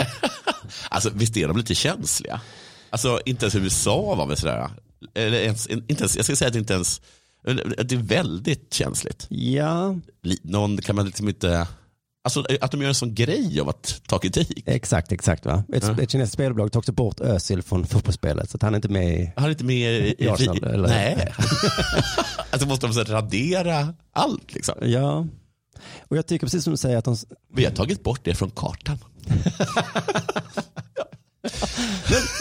Alltså visst är de lite känsliga? Alltså inte ens USA var väl sådär. Eller ens, inte ens, jag ska säga att det inte ens, att det är väldigt känsligt.
ja,
Li- Någon kan man liksom inte, alltså att de gör en sån grej av att ta kritik.
exakt, exakt. Va? Ett,
Ja.
ett kinesiskt spelbolag tog också bort Özil från fotbollsspelet så att han är inte med i...
Han är inte med i,
I Arsenal, eller?
Nej. alltså måste de så här radera allt liksom.
Ja, och jag tycker precis som du säger att de...
Vi har tagit bort det från kartan.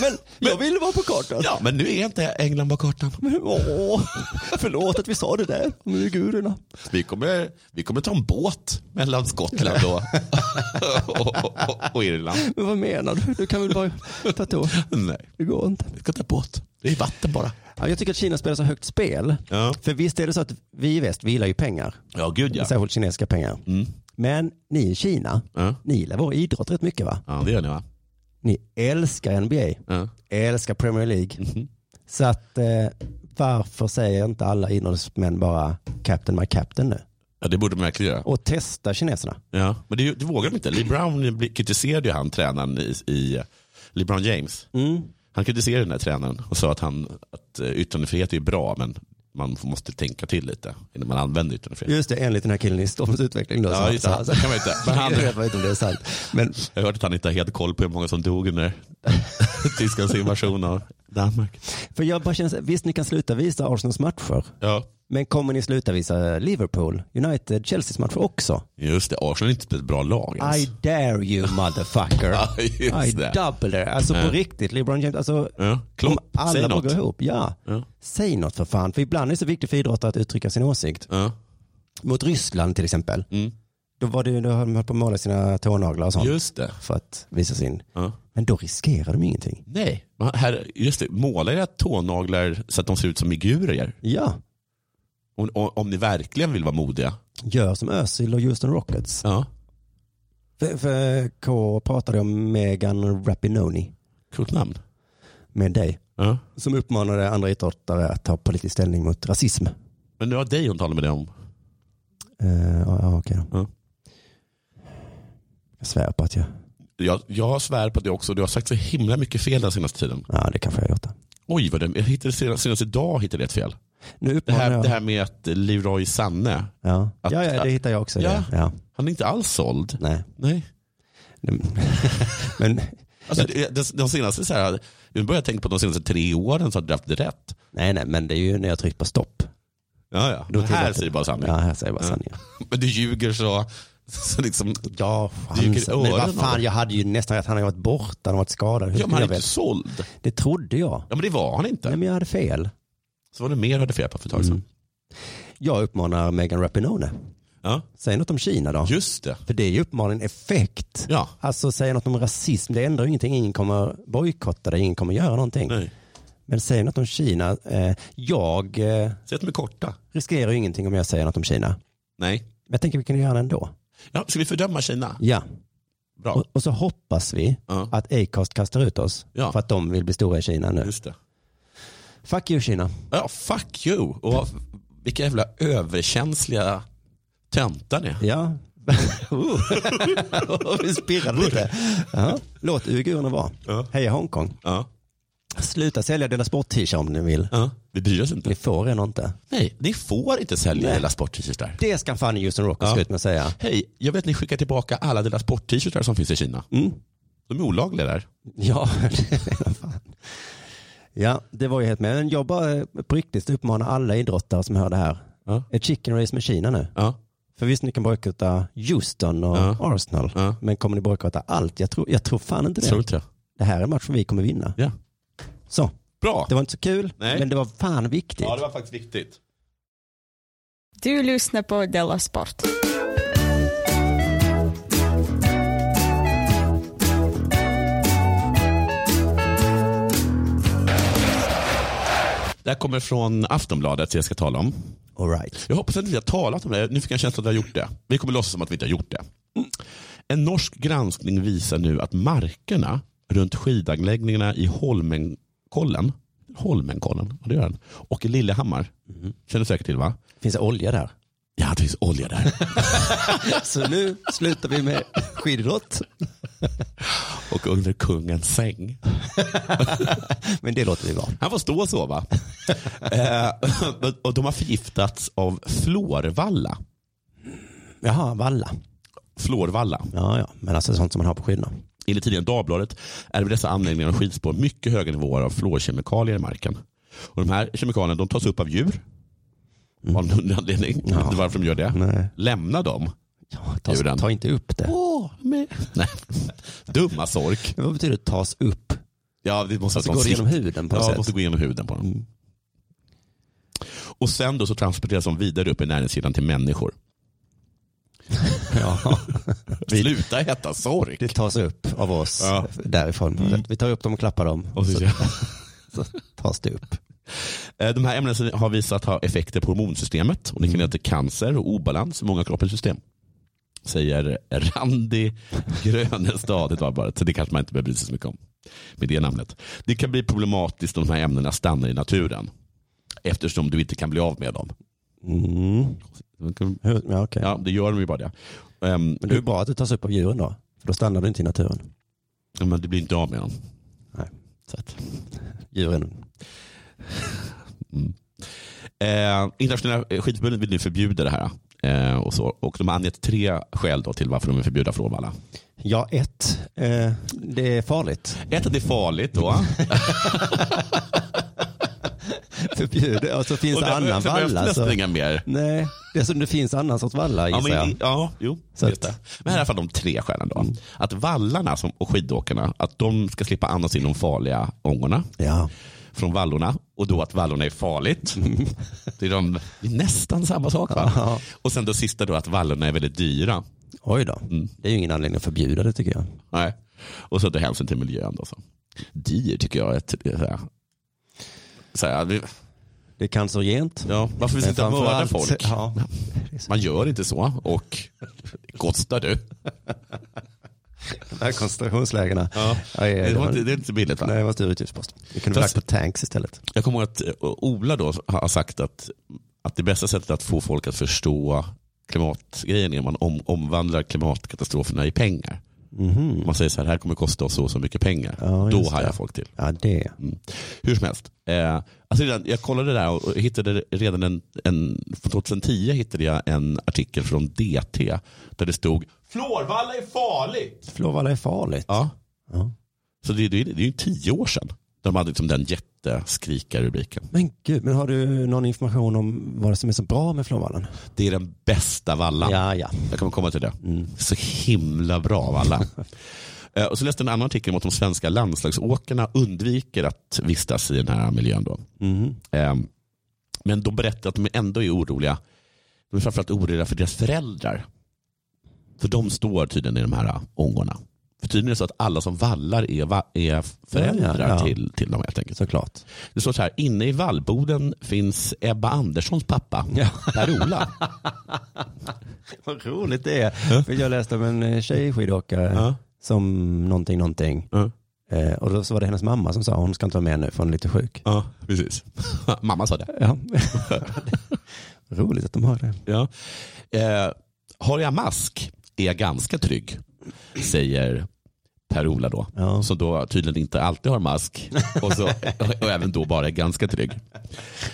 Men, men jag ville vara på kartan.
Ja, men nu är inte England på kartan.
Åh, förlåt att vi sa det där om uigurerna.
Vi kommer, vi kommer ta en båt mellan Skottland och, och, och, och Irland.
Men vad menar du? Du kan väl bara tatuera?
Nej,
Det går inte.
vi ska ta båt. Det är vatten bara.
Ja, jag tycker att Kina spelar så högt spel.
Ja,
För visst är det så att vi i väst, vi gillar ju pengar.
ja gud ja.
Särskilt kinesiska pengar.
Mm.
Men ni i Kina,
ja.
ni gillar vår idrott rätt mycket va?
Ja, det gör ni va?
Ni älskar NBA,
Ja.
älskar Premier League.
Mhm.
Så att eh, varför säger inte alla idrottsmän bara captain my captain nu?
ja, det borde man verkligen göra.
Och testa kineserna.
Ja. Men det, det vågar de inte. Lee Brown bli- kritiserade ju han tränaren i, i Lee Brown James.
Mm.
Han kritiserade den här tränaren och sa att, han, att eh, yttrandefrihet är bra men man får- måste tänka till lite innan man använder yttrandefrihet.
Just det, enligt den här killen i Stockholms utveckling då. så-
Ja, just det.
så-
Han- det kan man ju inte. Men
Men
han,
han vet inte om det är sant. Men
jag har hört att han inte har helt koll på hur många som dog under Tysklands invasion av Danmark.
för jag bara känner, så här, visst ni kan sluta visa Arsenals matcher,
Ja,
men kommer ni sluta visa Liverpool, United, Chelseas matcher också?
just det. Arsenal är inte ett bra lag ens.
I dare you motherfucker.
Ja,
I
just det.
double dare. Alltså på
Ja.
riktigt, LeBron James, alltså
Ja.
om
Klopp, säg
alla bara går
något.
ihop. Ja.
Ja.
Säg något för fan, för ibland är det så viktigt för idrottare att uttrycka sin åsikt.
Ja.
Mot Ryssland till exempel,
Mm.
då var det ju, då höll de på att måla sina tånaglar och sånt
Just det.
för att visa sin.
Ja.
Men då riskerar de ingenting.
Nej, Man- här, just det. Måla era tånaglar så att de ser ut som figurer.
Ja,
Om, om, om ni verkligen vill vara modiga.
gör som Özil och Houston Rockets.
Ja.
För, för K pratade om Megan Rapinoni
Coolt namn.
med dig.
Ja.
Som uppmanade andra idrottare att ta politisk ställning mot rasism.
Men det var dig hon talade med dig om.
Eh, ja, ja, okej då.
Ja.
Jag svär på att jag...
Jag, jag svär på det också. Du har sagt så himla mycket fel den senaste tiden.
Ja, det kanske jag har gjort. Det.
Oj, vad det, jag hittade senast, senast idag hittade jag ett fel.
Nu
Det
uppmanar
här,
jag...
det här med att Leroy Sanne,
ja.
att-
ja, ja, det hittar jag också.
Ja.
Ja. Ja.
han är inte alls såld.
Nej.
Nej.
Men,
Alltså, det- de, de senaste, så här, nu börjar jag tänka på de senaste tre åren så har du haft det rätt.
nej, nej, men det är ju när jag tryckt på stopp.
Ja, ja.
Då
Men här
tillåter-
säger bara sanning.
Ja, här säger jag bara sanningen.
Men du ljuger så, så liksom,
Ja,
Dyker i
Men
öronen
vad
av det.
fan, jag hade ju nästan att han hade varit borta, han hade varit skadad. Hur
ja, men
skulle
han
jag
är inte
veta?
såld.
Det trodde jag.
Ja, men det var han inte.
Nej, men jag hade fel.
Så var det mer du hade fel på för ett tag sedan.
Jag uppmanar Megan Rapinone. Mm.
Ja,
Säg något om Kina då.
just det.
För det är ju uppenbarligen effekt.
Ja.
Alltså säg något om rasism, det ändrar ju ingenting. Ingen kommer bojkotta det, ingen kommer göra någonting.
Nej.
Men säg något om Kina. Eh, jag eh,
Säg att de är korta.
riskerar ju ingenting om jag säger något om Kina.
Nej.
Men jag tänker vi kan göra det ändå.
Ja, ska vi fördöma Kina?
Ja,
Bra.
och, och så hoppas vi
Ja.
att Acast kastar ut oss
Ja.
för att de vill bli stora i Kina nu.
Just det.
Fuck you Kina.
Ja, fuck you. Och vilka jävla överkänsliga töntar ni är.
Ja. Oh. vi spirrade lite. Ja. Låt uigurerna vara.
Ja.
Heja Hongkong.
Ja.
Sluta sälja Dela Sport-t-shirt om ni vill.
Ja. Vi bryr oss
Ni
inte.
får en och inte.
Nej, ni får inte sälja
Nej.
hela sport-t-shirtar.
Det ska fan Houston Rockets
Ja.
gå ut med att säga.
Hej, jag vet att ni skickar tillbaka alla deras sport-t-shirtar som finns i Kina.
Mm.
De är olagliga där.
Ja, fan. ja, det var ju helt med. Men jag bara eh, på riktigt uppmanar alla idrottare som hör det här.
Ja.
Ett chicken race med Kina nu.
Ja.
För visst, ni kan bojkotta Houston och
Ja.
Arsenal.
Ja.
Men kommer ni bojkotta allt? Jag tror, jag tror fan inte det.
Tror inte jag.
Det här är en match som vi kommer vinna.
Ja.
Så,
Bra.
det var inte så kul,
Nej.
men det var fan viktigt.
Ja, det var faktiskt viktigt.
Du lyssnar på Della Sport.
Det här kommer från Aftonbladet, det jag ska tala om.
All right.
Jag hoppas att vi har talat om det. Nu fick jag en känsla att vi har gjort det. Vi kommer låtsas som att vi inte har gjort det. En norsk granskning visar nu att markerna runt skidanläggningarna i Holmenkollen, Mm. Holmenkollen, ja, det gör den, och i Lillehammar, känner du säkert till va?
Finns det olja där?
Ja, att det finns olja där.
Så nu slutar vi med skididrott.
Och under kungens säng.
Men det låter vi vara.
Han får stå och sova. eh, och de har förgiftats av florvalla.
Jaha, valla.
Florvalla.
Ja, ja. Men alltså sånt som man har på skidorna.
Enligt tidningen Dagbladet är det vid dessa anläggningar och skidspår mycket höga nivåer av fluorkemikalier i marken. Och de här kemikalierna de tas upp av djur.
Mm.
Av någon anledning. Jag vet inte varför de gör det.
Nej.
Lämna dem.
Ja, ta,
Djuren.
ta inte upp det.
Nej. Dumma sork.
Men vad betyder tas upp?
Ja, det
Alltså
måste att de
går det
sitter-
genom huden på något
ja,
sätt? Mm.
måste gå igenom huden på dem. Och sen då så transporteras de vidare upp i näringskedjan till människor.
Ja,
Sluta heta sork.
det tas upp av oss
Ja. Mm.
därifrån. Vi tar upp dem och klappar dem.
Och så-
så tas det upp.
Eh, De här ämnena som har visat ha effekter på hormonsystemet och det kan leda till cancer och obalans i många kroppens system. Säger Randi Grönestad. Det var bara, så det kanske man inte behöver bry sig så mycket om. Med det namnet. Det kan bli problematiskt om de här ämnena stannar i naturen. Eftersom du inte kan bli av med dem.
Mm. Hur- Ja, okay.
Ja, det gör de ju bara det. Ehm,
Men det är bra att det tas upp av djuren då. För då stannar du inte i naturen.
Ja, Men du blir inte av med dem.
Nej.
Så att,
Djuren.
mm. eh, Internationella skidförbundet vill nu förbjuda det här. Eh, och, så. och de har angett tre skäl då till varför de vill förbjuda florvalla.
Ja, ett. Eh, det är farligt.
Ett, att det är farligt då.
Förbjud. Och så alltså, finns
och
det annan
behövs
valla.
nästan
Så...
inga mer.
Nej, det är som det finns annan sorts valla
Ja,
gissar
men,
jag.
i- ja, jo,
Så
just
att- Mm.
det. Men här är i alla fall de tre skälen då. Att vallarna som, och skidåkarna, att de ska slippa andas in de farliga ångorna
Ja.
från vallorna och då att vallorna är farligt. Det är, de, det är nästan samma sak va?
Ja.
Och sen då sista då att vallorna är väldigt dyra. Mm.
Oj då. Det är ju ingen anledning att förbjuda det tycker jag.
Nej. Och så att det är hänsyn till miljön. Då, så. Dyr tycker jag är ett... det är Så här. Så här, vi-
Det är cancerogent.
ja, varför vill vi inte
framför
mörda
allt-
folk?
Ja.
Man gör inte så och det kostar du.
De här koncentrationslägena.
Ja.
Ja, ja,
Det,
det
var
var-
inte, det är inte så billigt va?
Nej, det var inte ur utgiftspost. Vi kunde
Fast-
lagt på tanks istället.
Jag kommer ihåg att eh, Ola då har sagt att, att det bästa sättet att få folk att förstå klimatgrejen är om man om, omvandlar klimatkatastroferna i pengar.
Mhm,
Om Man säger så här, det här kommer kosta oss så och så mycket pengar.
Ja,
då
just det.
hajar folk till.
Ja, det.
Hur som helst. Eh, alltså redan, jag kollade där och och hittade redan en, en, från 2010 hittade jag en artikel från DT där det stod Florvalla är farligt.
Florvalla är farligt.
Ja.
Ja.
Så det, det, det är ju tio år sedan. De hade liksom den jätteskrikarrubriken.
Men gud, men har du någon information om vad som är så bra med Florvallen?
Det är den bästa vallan.
Ja, ja.
Jag kommer komma till det. Så himla bra av alla. Eh, och så läste jag en annan artikel om att de svenska landslagsåkarna undviker att vistas i den här miljön. Då. Eh, men de berättar att de ändå är oroliga. De är framförallt oroliga för deras föräldrar. För de står tydligen i de här eh, ångorna. För tydligen är det så att alla som vallar är, va- är föräldrar
Ja, ja, ja.
Till, till dem helt enkelt.
Såklart.
Det står så här, inne i vallboden finns Ebba Anderssons pappa, Per-Ola.
Vad roligt det är. För jag läste om en eh, tjej i skidåkare
Ja.
som någonting, någonting. Eh, och då så var det hennes mamma som sa hon ska inte vara med nu för hon är lite sjuk.
Ja, precis. Mamma sa det.
Ja. roligt att de har det.
Ja. Eh, har jag mask är jag ganska trygg, säger Per-Ola då.
Ja.
Som då tydligen inte alltid har mask och, så, och även då bara är ganska trygg.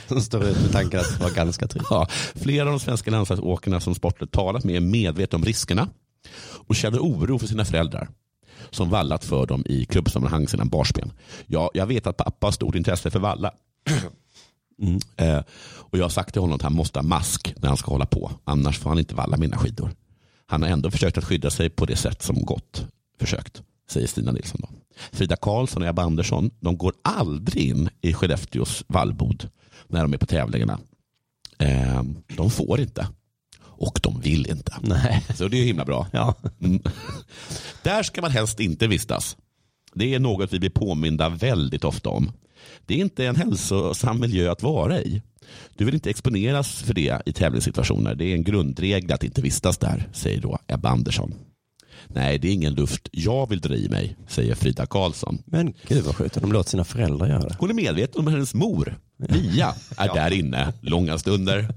Som står ut med tanken att vara ganska trygg.
Ja. Flera av de svenska landslagsåkarna som Sportbladet talat med är medvetna om riskerna och känner oro för sina föräldrar som vallat för dem i klubbsammanhang sedan barnsben. Ja, jag vet att pappa har stort intresse för valla. Eh, och jag har sagt till honom att han måste ha mask när han ska hålla på. Annars får han inte valla mina skidor. Han har ändå försökt att skydda sig på det sätt som gått försökt, säger Stina Nilsson. Då. Frida Karlsson och Ebba Andersson, de går aldrig in i Skellefteås vallbod när de är på tävlingarna. Eh, de får inte. Och de vill inte.
Nej.
Så det är himla bra.
Ja.
Mm. Där ska man helst inte vistas. Det är något vi blir påminda väldigt ofta om. Det är inte en hälsosam miljö att vara i. Du vill inte exponeras för det i tävlingssituationer. Det är en grundregel att inte vistas där, säger då Ebba Andersson. Nej, det är ingen luft jag vill dra i mig, säger Frida Karlsson.
Men gud vad sjukt, de låter sina föräldrar göra det.
Hon är medveten om att hennes mor, Mia, är där inne långa stunder.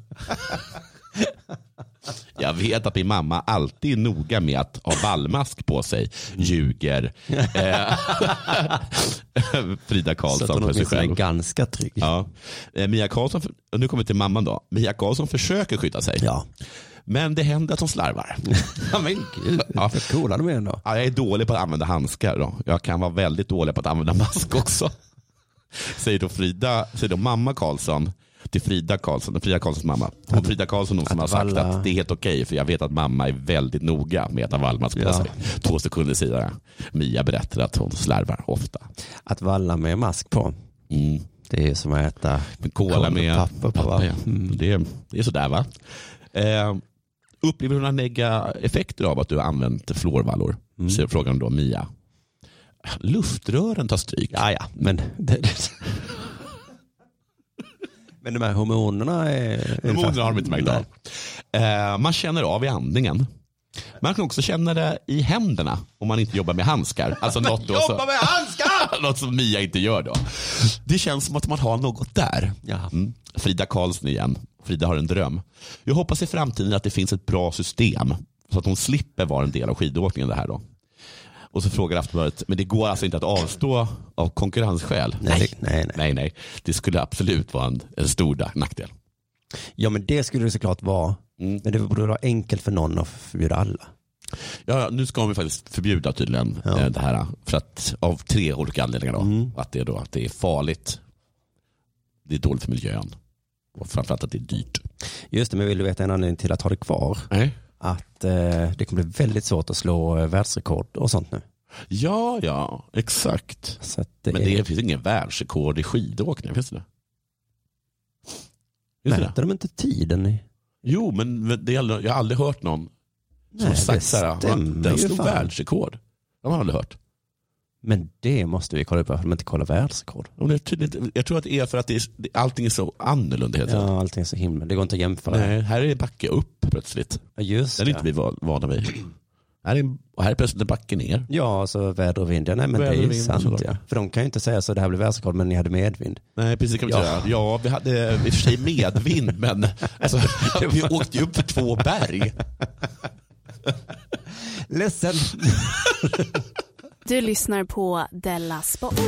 Jag vet att min mamma alltid är noga med att ha ballmask på sig. Ljuger. Eh, Frida
Så att
Karlsson
hon
för sig
åtminstone är
själv.
ganska trygg.
Ja. Eh, Mia Karlsson, och nu kommer vi till mamman då. Mia Karlsson försöker skydda sig.
Ja.
Men det händer att hon slarvar.
men gud,
Ja.
vad coola de är ändå.
Ja, jag är dålig på att använda handskar. Då. Jag kan vara väldigt dålig på att använda mask också. Säger då, Frida, säger då mamma Karlsson till Frida Karlsson, Frida Karlssons mamma. Och Frida Karlsson hon som har
att
sagt
valla-
att det är helt okej för jag vet att mamma är väldigt noga med att ha vallmask på
Ja.
sig. Två sekunder senare, Mia berättar att hon slarvar ofta.
Att valla med mask på,
Mm.
det är som att äta
Men kola
Kolla
med
papper på, va?
ja. Mm. det, det är sådär va. Eh, upplever du några negativa effekter av att du har använt fluorvallor? Så frågar hon då Mia. Mm. Luftrören tar stryk.
Ja, ja, men det, det. Men de här hormonerna är...
Förmodligen har de inte märkt av. Eh, man känner av i andningen. Man kan också känna det i händerna om man inte jobbar med handskar. Alltså något, då så,
med handskar!
något som Mia inte gör då. Det känns som att man har något där.
Ja.
Mm. Frida Karlsson igen. Frida har en dröm. Jag hoppas i framtiden att det finns ett bra system så att hon slipper vara en del av skidåkningen det här då. Och så frågar Aftonbladet, men det går alltså inte att avstå av konkurrensskäl?
Nej, nej, nej.
nej, nej. Det skulle absolut vara en, en stor da- nackdel.
Ja, men det skulle det såklart vara.
Mm.
Men det borde vara enkelt för någon att förbjuda alla.
Ja, nu ska vi faktiskt förbjuda tydligen
Ja.
eh, det här. För att, av tre olika anledningar. Då.
Mm.
Att, det är då, att det är farligt, det är dåligt för miljön och framförallt att det är dyrt.
Just det, men vill du veta en anledning till att ha det kvar?
Nej.
Att eh, det kommer bli väldigt svårt att slå eh, världsrekord och sånt nu.
Ja, ja, exakt.
Så att eh, det
Men
är...
det finns ingen världsrekord i skidåkning, finns det det? Finns det? det?
Mäter de inte tiden i...
Jo, men det, gäller- jag har aldrig hört någon som
Nej, det
sagt så här, "Va,
stämmer
den
ju
slog
fan.
världsrekord. Det har man aldrig hört.
Men det måste vi kolla upp, varför de inte kollar världsrekord.
Och det är tydligt, jag tror att det är för att det är, allting är så annorlunda. Helt enkelt.
Ja, allting är så himla... Det går inte att jämföra.
Nej, här är det backe upp plötsligt.
Ja, Just
Den är inte vi va- vana vid. Här är, och här är plötsligt en backe ner.
Ja, alltså väder och vind. Ja, nej, men
Väder
det är
och
ju
vind,
sant.
såklart.
Ja. För de kan ju inte säga så, det här blev världsrekord, men ni hade medvind.
Nej, precis det kan vi
Ja.
inte säga. Ja, vi hade eh, i och för sig medvind, men alltså, vi åkte ju upp för två berg.
Ledsen.
Du lyssnar på Della Sport.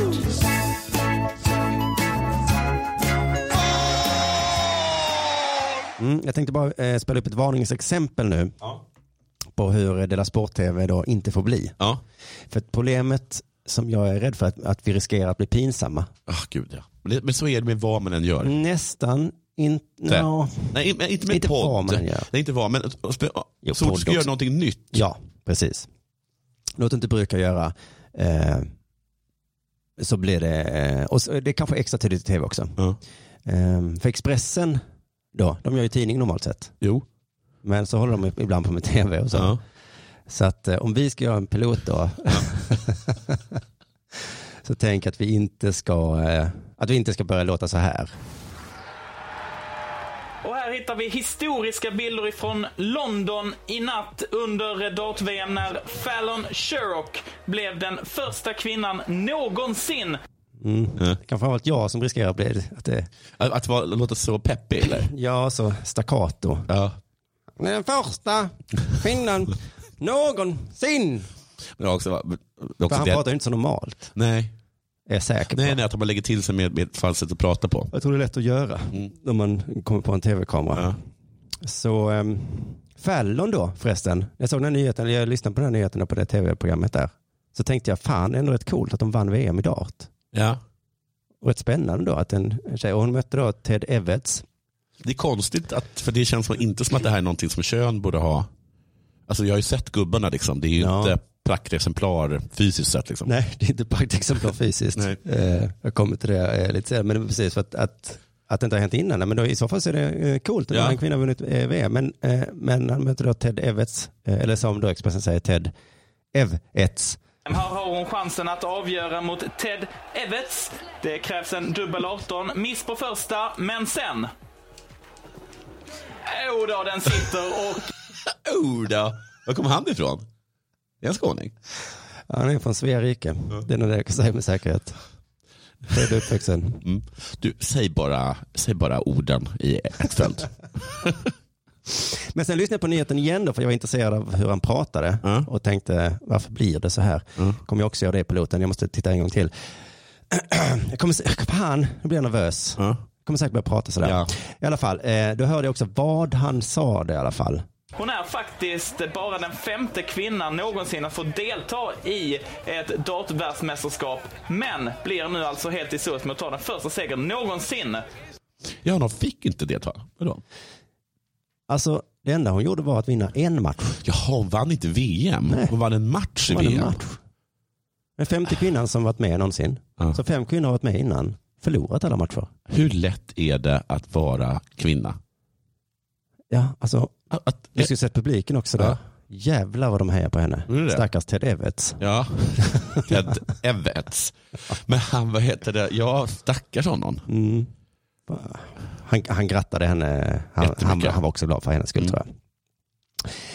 Mm, jag tänkte bara eh, spela upp ett varningsexempel nu på hur Dela Sport-TV då inte får bli.
Ja.
För att problemet som jag är rädd för att, att vi riskerar att bli pinsamma.
Ah, gud, ja. Men, det, men så är det med vad man än gör.
Nästan inte...
Så.
Ja.
Nej, men Mm. inte med
Inte
podd.
vad man gör.
Nej, inte vad, men och spe- och-
Jo,
så fort
podd
du ska göra
också.
någonting nytt.
ja, precis. Något du inte brukar göra. Eh, så blir det, eh, och så, det är kanske extra tydligt i tv också.
Ja.
Eh, för Expressen då, de gör ju tidning normalt sett.
Jo.
Men så håller de ibland på med tv och så.
Ja.
Så att eh, om vi ska göra en pilot då. så tänk att vi inte ska, eh, att vi inte ska börja låta så här.
Och här hittar vi historiska bilder ifrån London i natt under dart-VM när Fallon Sherrock blev den första kvinnan någonsin
Det kan Mm. framförallt jag som riskerar att bli, att det,
Att, att vara, låta så peppig, eller?
ja så staccato.
Ja.
Den första kvinnan någonsin.
Men också, men
För
också
han
det,
pratar ju inte så normalt,
nej.
är jag säker på.
nej, nej, att man lägger till sig med, med ett falskt sätt att prata på.
Jag tror det är lätt att göra Mm. när man kommer på en tv-kamera.
Ja.
Så um, Fallon då förresten, jag såg den här nyheten, eller jag lyssnade på den här nyheten på det tv-programmet där. Så tänkte jag, fan det är ändå rätt coolt att de vann VM i dart.
Ja.
Och rätt spännande då att en en tjej, och hon mötte då Ted Evans.
Det är konstigt, att, för det känns som, inte som att det här är någonting som kön borde ha. Alltså jag har ju sett gubbarna, liksom. det är ju
Ja.
inte praktexemplar fysiskt sett. Liksom.
Nej, det är inte praktexemplar fysiskt.
Nej.
Eh, jag kommer till det eh, lite senare, men det var precis för att, att, att det inte har hänt innan. Nej, Men då, i så fall så är det eh, coolt att
Ja.
en kvinna har vunnit eh, VM. Men, eh, men han mötte då Ted Evans, eh, eller som då Expressen säger, Ted Evets.
Här har hon chansen att avgöra mot Ted Evets. Det krävs en dubbel 18. Miss på första, men sen... Jo då, den sitter och
Oh, då. Var kom han ifrån? Är han skåning?
Han är från Svea rike. Det är nog det jag kan säga med säkerhet. Född och uppvuxen.
Mm. Du, säg bara, säg bara orden i ett fält.
Men sen lyssnade jag på nyheten igen då, för jag var intresserad av hur han pratade
Ja.
och tänkte, varför blir det så här? Kommer jag också göra det i piloten? Jag måste titta en gång till. Jag kommer, se- fan, nu blir jag nervös.
Ja.
Jag kommer säkert börja prata sådär.
Ja.
I alla fall, eh, då hörde jag också vad han sa det i alla fall.
Hon är faktiskt bara den femte kvinnan någonsin att få delta i ett dartvärldsmästerskap. Men blir nu alltså helt i surs med att ta den första segern någonsin.
Ja, de fick inte delta. Vadå?
Alltså, det enda hon gjorde var att vinna en match.
Jaha, hon vann inte VM.
Nej.
Hon vann en match i
Hon vann en
VM.
match. Den femte kvinnan som varit med någonsin.
Ja.
Så fem kvinnor har varit med innan, förlorat alla matcher.
Hur lätt är det att vara kvinna?
Ja, alltså,
Att, att,
du skulle sett publiken också då.
Ja.
Jävlar vad de hejar på henne.
Gjorde det?
Stackars Ted Evans.
ja, Ted Evans. Men han, vad heter det? Ja, stackars honom.
Mm. Han, han grattade henne. Han, han,
Jättemycket.
han var också glad för hennes skull
Mm.
tror jag.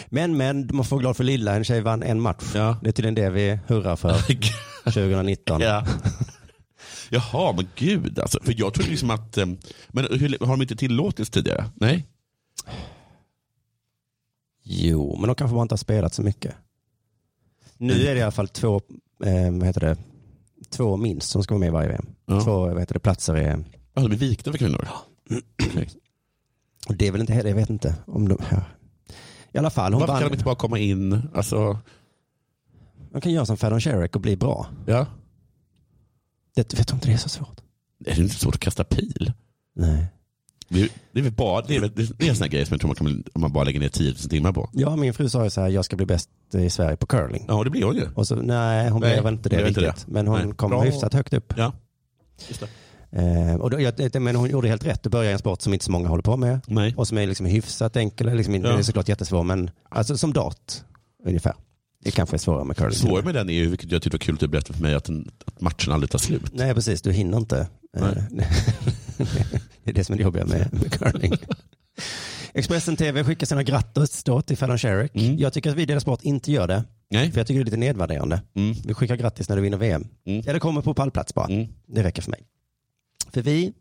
Men, men, man får vara glad för lilla. En tjej vann en match.
Ja.
Det är tydligen det vi hurrar för 2019.
Ja. Jaha, men gud alltså. För jag trodde liksom att... eh, Men hur, har de inte tillåtits tidigare? Nej?
Jo, men de kanske bara inte har spelat så mycket. Nu
Mm.
är det i alla fall två, eh, vad heter det, två minst som ska vara med i varje VM.
Ja.
Två vad heter det, platser är,
Ja, de är vikta för kvinnor. Okej.
och det är väl inte heller, jag vet inte om de, ja. I alla fall, hon
Varför kan
vann.
de inte bara komma in? Alltså,
Man kan göra som Ferdinand Sherrick och bli bra.
ja.
Det, vet du inte det är så svårt?
Det är inte svårt att kasta pil.
Nej.
Det är, det är, väl bara, det är, väl- det är en sån här grej som jag tror man kan, om man bara lägger ner 10 000 timmar på.
Ja, min fru sa ju så här, jag ska bli bäst i Sverige på curling.
Ja, det blir hon ju.
Och så, nej, hon
Nej,
blev inte det
blev inte
riktigt. Men hon
Nej.
kom
Bra.
hyfsat högt upp.
Ja.
Eh, och då, jag, jag- men hon gjorde helt rätt att börja i en sport som inte så många håller på med.
Nej.
Och som är liksom hyfsat enkel. Liksom, Den är
Ja.
såklart jättesvår, men alltså, som dart ungefär. Det kanske är svårare med curling.
Svårare med den är ju, vilket jag tyckte var kul att du berättade för mig, att, den, att matchen aldrig tar slut.
Nej, precis. Du hinner inte. Eh, det är det som är det jobbiga med, med curling. Expressen TV skickar sina grattis då till Fallon Sherrick.
Mm.
Jag tycker att vi i Dela Sport inte gör det.
Nej.
För jag tycker det är lite nedvärderande.
Mm.
Vi skickar grattis när du vinner VM.
Mm.
Eller kommer på pallplats bara.
Mm.
Det räcker för mig. För vi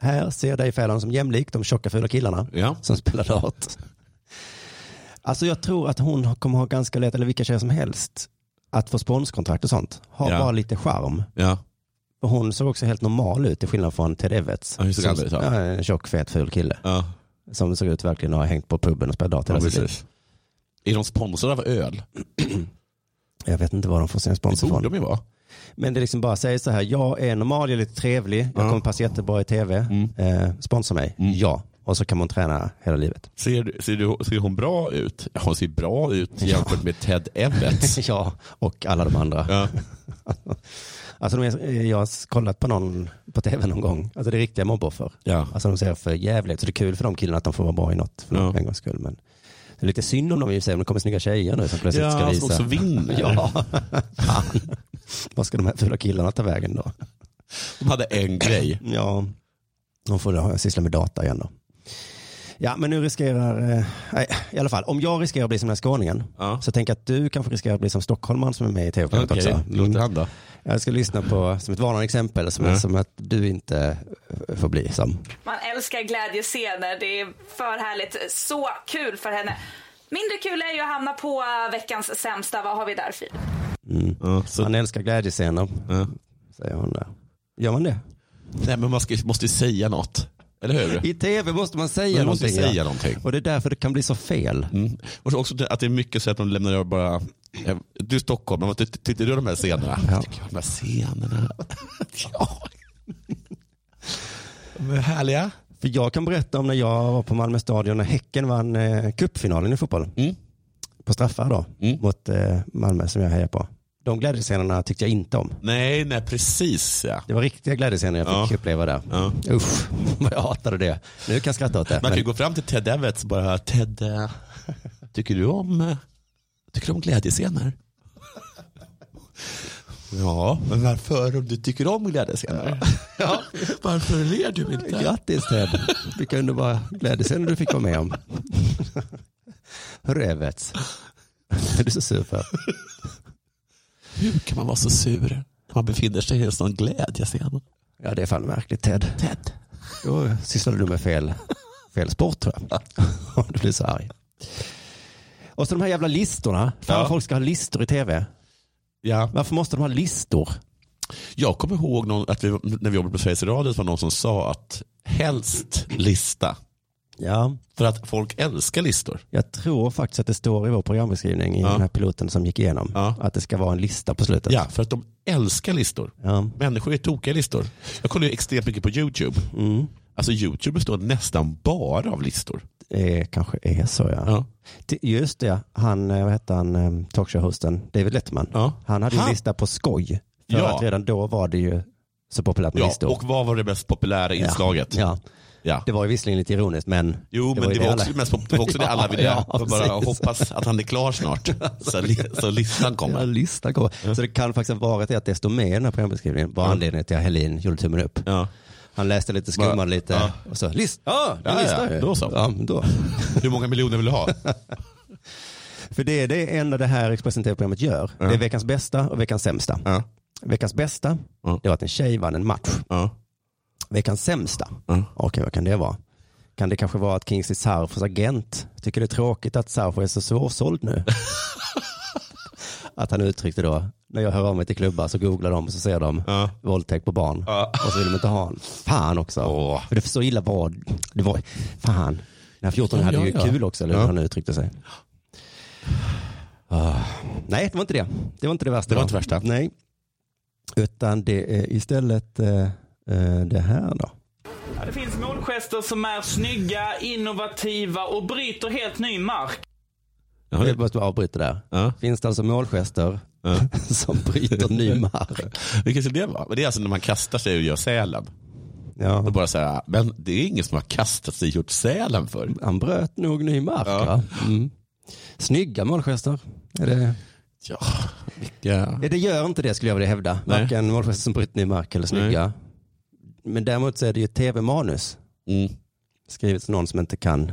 här ser dig Fallon som jämlik de tjocka fula killarna
Ja.
som spelar dart. Alltså jag tror att hon har- kommer ha ganska lätt, eller vilka tjejer som helst, att få sponskontrakt och sånt. Ha
Ja.
bara lite charm.
Ja.
Och hon såg också helt normal ut till skillnad från Ted Evans.
Ja, hur såg
Som-
han ut då?
ja, en tjock, fet, ful kille.
Ja.
Som såg ut verkligen att ha hängt på puben och spelat dart
ja,
hela sitt liv.
precis. Är de sponsrade av öl?
Jag vet inte var de får sin
Det
sponsor
borde
från.
de ju vara.
Men det liksom bara säger så här, jag är normal, jag är lite trevlig, jag
Ja.
kommer passa jättebra i tv. Eh, sponsra mig,
Mm.
ja. Och så kan man träna hela livet.
Ser, du- ser, du, ser hon bra ut? Ja, hon ser bra ut jämfört med Ted Evans.
ja, och alla de andra.
Ja.
Alltså de är, jag har kollat på någon på tv någon gång. Alltså det är riktiga mobboffer.
Ja.
Alltså de ser för jävligt. Så det är kul för de killarna att de får vara bra i något för
Ja.
en gångs skull. Men det är lite synd om dem i och för sig. Men det kommer snygga tjejer nu som plötsligt ska
Ja, som
visa.
också vinner.
Ja, fan. Vad ska de här fula killarna ta vägen då?
De hade en grej.
Ja, de får ha- syssla med data igen då. Ja, men nu riskerar, eh, nej, i alla fall, om jag riskerar att bli som den här skåningen
Ja.
så tänk att du kanske riskerar att bli som stockholmaren som är med i tv-programmet
Okej,
också. Mm.
låter han då?
Jag ska lyssna på, som ett varnande exempel, som,
Ja.
som att du inte eh, får bli som.
Man älskar glädjescener. Det är för härligt. Så kul för henne. Mindre kul är ju att hamna på eh, veckans sämsta. Vad har vi där, Filip?
Mm.
Ja, så,
Han älskar glädjescener,
ja.
säger hon där. Gör man det?
Nej, men man ska, måste ju säga något. Eller hur?
I tv måste man säga
Man måste
någonting.
ju
ja.
säga någonting.
Och det är därför det kan bli så fel.
Mm. Och så också det- att det är mycket så att de lämnar över bara, eh, du är Stockholm, men vad ty- tyckte du om de här scenerna? Ja. Tycker jag om de här scenerna? ja. De är härliga.
För jag kan berätta om när jag var på Malmö stadion när Häcken vann eh, cupfinalen i fotboll.
Mm.
På straffar då,
Mm.
mot eh, Malmö som jag hejar på. De glädjescenerna tyckte jag inte om.
Nej, nej precis ja.
Det var riktiga glädjescener jag fick
Ja.
uppleva där.
ja.
Usch, vad jag hatade det. Nu kan jag skratta åt det.
Man kan ju
Men,
gå fram till Ted Evans och bara, Ted, eh, tycker du om, eh, tycker du om glädjescener? Ja, men varför om du tycker om glädjescener? Ja. Varför ler du inte?
grattis Ted, vilka underbara glädjescener du fick vara med om. Hörru Evets, vad är du så sur för?
Hur kan man vara så sur när man befinner sig i en sån glädjescen?
Ja det är fan märkligt Ted. Ted. Då sysslade du med fel fel sport tror jag. du blir så arg. Och så de här jävla listorna. Fan
Ja.
vad folk ska ha listor i tv.
Ja.
Varför måste de ha listor?
Jag kommer ihåg någon, att vi, när vi jobbade på Sveriges Radio så var det någon som sa att helst lista.
Ja.
För att folk älskar listor.
Jag tror faktiskt att det står i vår programbeskrivning i
Ja.
den här piloten som gick igenom.
Ja.
Att det ska vara en lista på slutet.
Ja, för att de älskar listor.
Ja.
Människor är tokiga i listor. Jag kollar ju extremt mycket på YouTube.
Mm.
Alltså YouTube består nästan bara av listor.
Det Eh, kanske är så ja.
Ja.
T- Just det, han, eh, vad hette han, eh, talkshow-hosten, David Letterman.
Ja.
Han hade ju en
Han-
lista på skoj. För
Ja.
att redan då var det ju så populärt med
Ja,
listor.
och vad var det mest populära inslaget?
Ja.
Ja.
Det var ju visserligen lite ironiskt men.
Jo, men det var,
ju
också, det mest, pop- det var också det alla ville.
Ja, ja,
Jag bara
precis.
hoppas att han är klar snart. Så, li- så listan
Ja,
kommer.
listan kommer. Så det kan faktiskt ha varit det att det står med i den här programbeskrivningen var
Ja.
anledningen till att Helin gjorde tummen upp.
Ja.
Han läste lite, skummade
Bara,
lite
ja.
och så list. Ja,
ja, ja, då så.
Ja, men då.
Hur många miljoner vill du ha?
För det är det enda det här Expressen TV-programmet gör.
Ja.
Det är veckans bästa och veckans sämsta.
Ja.
Veckans bästa,
Ja.
det var att en tjej vann en match.
Ja.
Veckans sämsta,
Ja.
okej vad kan det vara? Kan det kanske vara att Kingsley Sarfos agent tycker det är tråkigt att Sarfo är så svårsåld nu? att han uttryckte då, när jag hör av mig till klubbar så googlar de och så ser de
Ja.
våldtäkt på barn.
Ja.
Och så vill de inte ha honom. Fan också.
Åh.
För det så illa var det. Var, fan, den här 14 hade
Ja,
ju
ja, ja.
kul också, eller hur
Ja.
han uttryckte sig. Ah, nej, det var inte det. Det var inte det värsta.
Det var inte värsta.
Nej. Utan det är istället eh, eh, det här då.
Ja, Det finns målgester som är snygga, innovativa och bryter helt ny mark.
Ja,
Jag
det-
måste avbryta där.
Ja.
Finns det alltså målgester
Ja.
som bryter ny mark?
Vilken skulle det vara? Men Det är alltså när man kastar sig och gör sälen.
Ja.
Och bara så här, men det är ingen som har kastat sig och gjort sälen för.
Han bröt nog ny mark.
Ja.
Va? Mm. Snygga målgester. Är det...
Ja, vilka...
Nej, Det gör inte det skulle jag vilja hävda.
Nej.
Varken målgester som bryter ny mark eller snygga. Men däremot så är det ju tv-manus.
Mm.
Skrivet av någon som inte kan.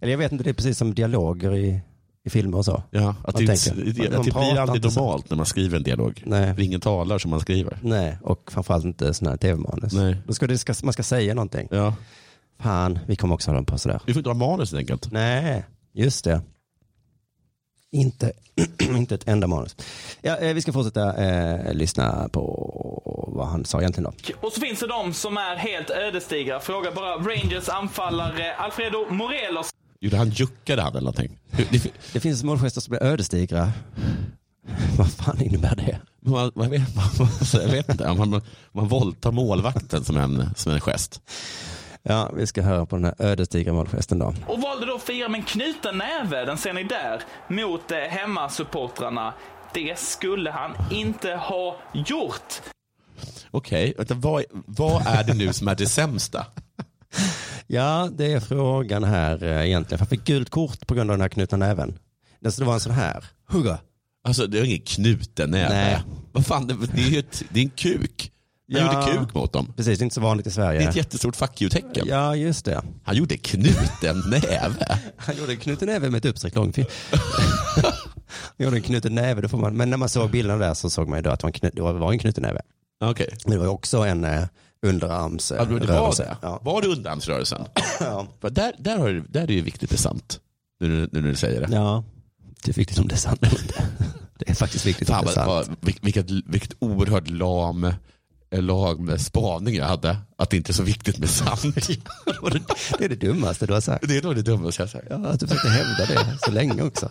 Eller jag vet inte, det är precis som dialoger i, i filmer och så.
Ja, att
Man
det,
tänker,
det, det,
man
att det typ blir
pratar
aldrig
inte så.
normalt när man skriver en dialog.
Nej.
För ingen talar som man skriver.
Nej, och framförallt inte sådana här tv-manus.
Nej.
Då ska det, ska, man ska säga någonting.
Ja.
Fan, vi kommer också hålla på sådär.
Vi får inte ha manus helt enkelt.
Nej, just det. Inte, inte ett enda manus. Ja, eh, vi ska fortsätta eh, lyssna på vad han sa egentligen då.
Och så finns det de som är helt ödesdigra. Fråga bara Rangers anfallare Alfredo Morelos.
Gjorde han juckade han eller någonting? Hur- Det,
Det finns målgester som är ödesdigra. vad fan innebär det?
man, man vet, man, alltså, jag vet inte, man, man, man våldtar målvakten som en, som en gest.
Ja, vi ska höra på den här ödesdigra målgesten då.
Och valde då att fira med en knuten näve, den ser ni där, mot eh, hemmasupportrarna. Det skulle han inte ha gjort.
Okej, vänta, vad, vad är det nu som är det sämsta?
Ja, det är frågan här eh, egentligen. För han fick gult kort på grund av den här knutna näven. Alltså det var en sån här. Hugga.
Alltså det är ingen knuten
Nej.
näve. Vad fan, det, det är ju ett, det är en kuk. Han
Ja.
gjorde kuk mot dem.
Precis, det är inte så vanligt i Sverige.
Det är ett jättestort fuck you-tecken.
Ja, just det.
Han gjorde knuten näve.
Han gjorde en knuten näve med ett uppsträckt långfinger. Han gjorde en knuten näve, då får man. Men när man såg bilderna där så såg man ju då att det var en, knut, det var en knuten näve.
Okej.
Men det var ju också en eh, underarms eh,
Ja, men det var
rörelse.
det.
Ja.
Var det underarmsrörelsen?
Ja.
För Där, där, har, du- där är det ju viktigt det är sant. Nu, nu, nu när du säger det.
ja, det är viktigt om det är sant eller inte. Det är faktiskt viktigt om
Fan
det är
vad,
sant.
vad, vil- vilket, vilket oerhört lam, eh, lam spaning jag hade. Att det inte är så viktigt med sant.
Det är det dummaste du har sagt.
det är nog det dummaste jag har sagt.
Ja, att du försökte hävda det så länge också.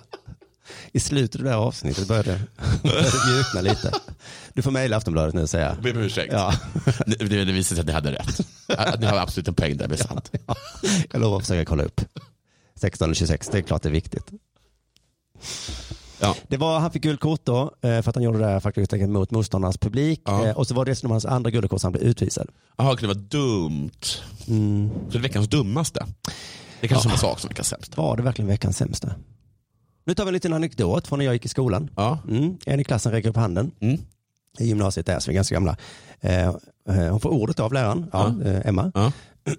I slutet av det här avsnittet började började det mjukna lite. Du får mejla Aftonbladet nu och säga.
Jag ber om ursäkt.
Ja,
Nu, nu, det visar sig att ni hade rätt. Att ni har absolut en poäng där med sant.
ja. Jag lovar att försöka kolla upp. 16 och 26, det är klart det är viktigt.
Ja.
Det var, han fick gult kort då, eh, för att han gjorde det här faktiskt helt enkelt mot motståndarnas publik.
Ja.
Eh, Och så var det dessutom hans andra gula kort så han blev utvisad.
Jaha, det var dumt. Så det är veckans dummaste. Mm. Det är kanske samma sak som veckans sämsta.
Var det verkligen veckans sämsta? Nu tar vi en liten anekdot från när jag gick i skolan.
Ja.
Mm. En i klassen räcker upp handen.
Mm.
I gymnasiet där, så vi är ganska gamla. Eh, eh, hon får ordet av läraren, ja. eh, Emma.
Ja.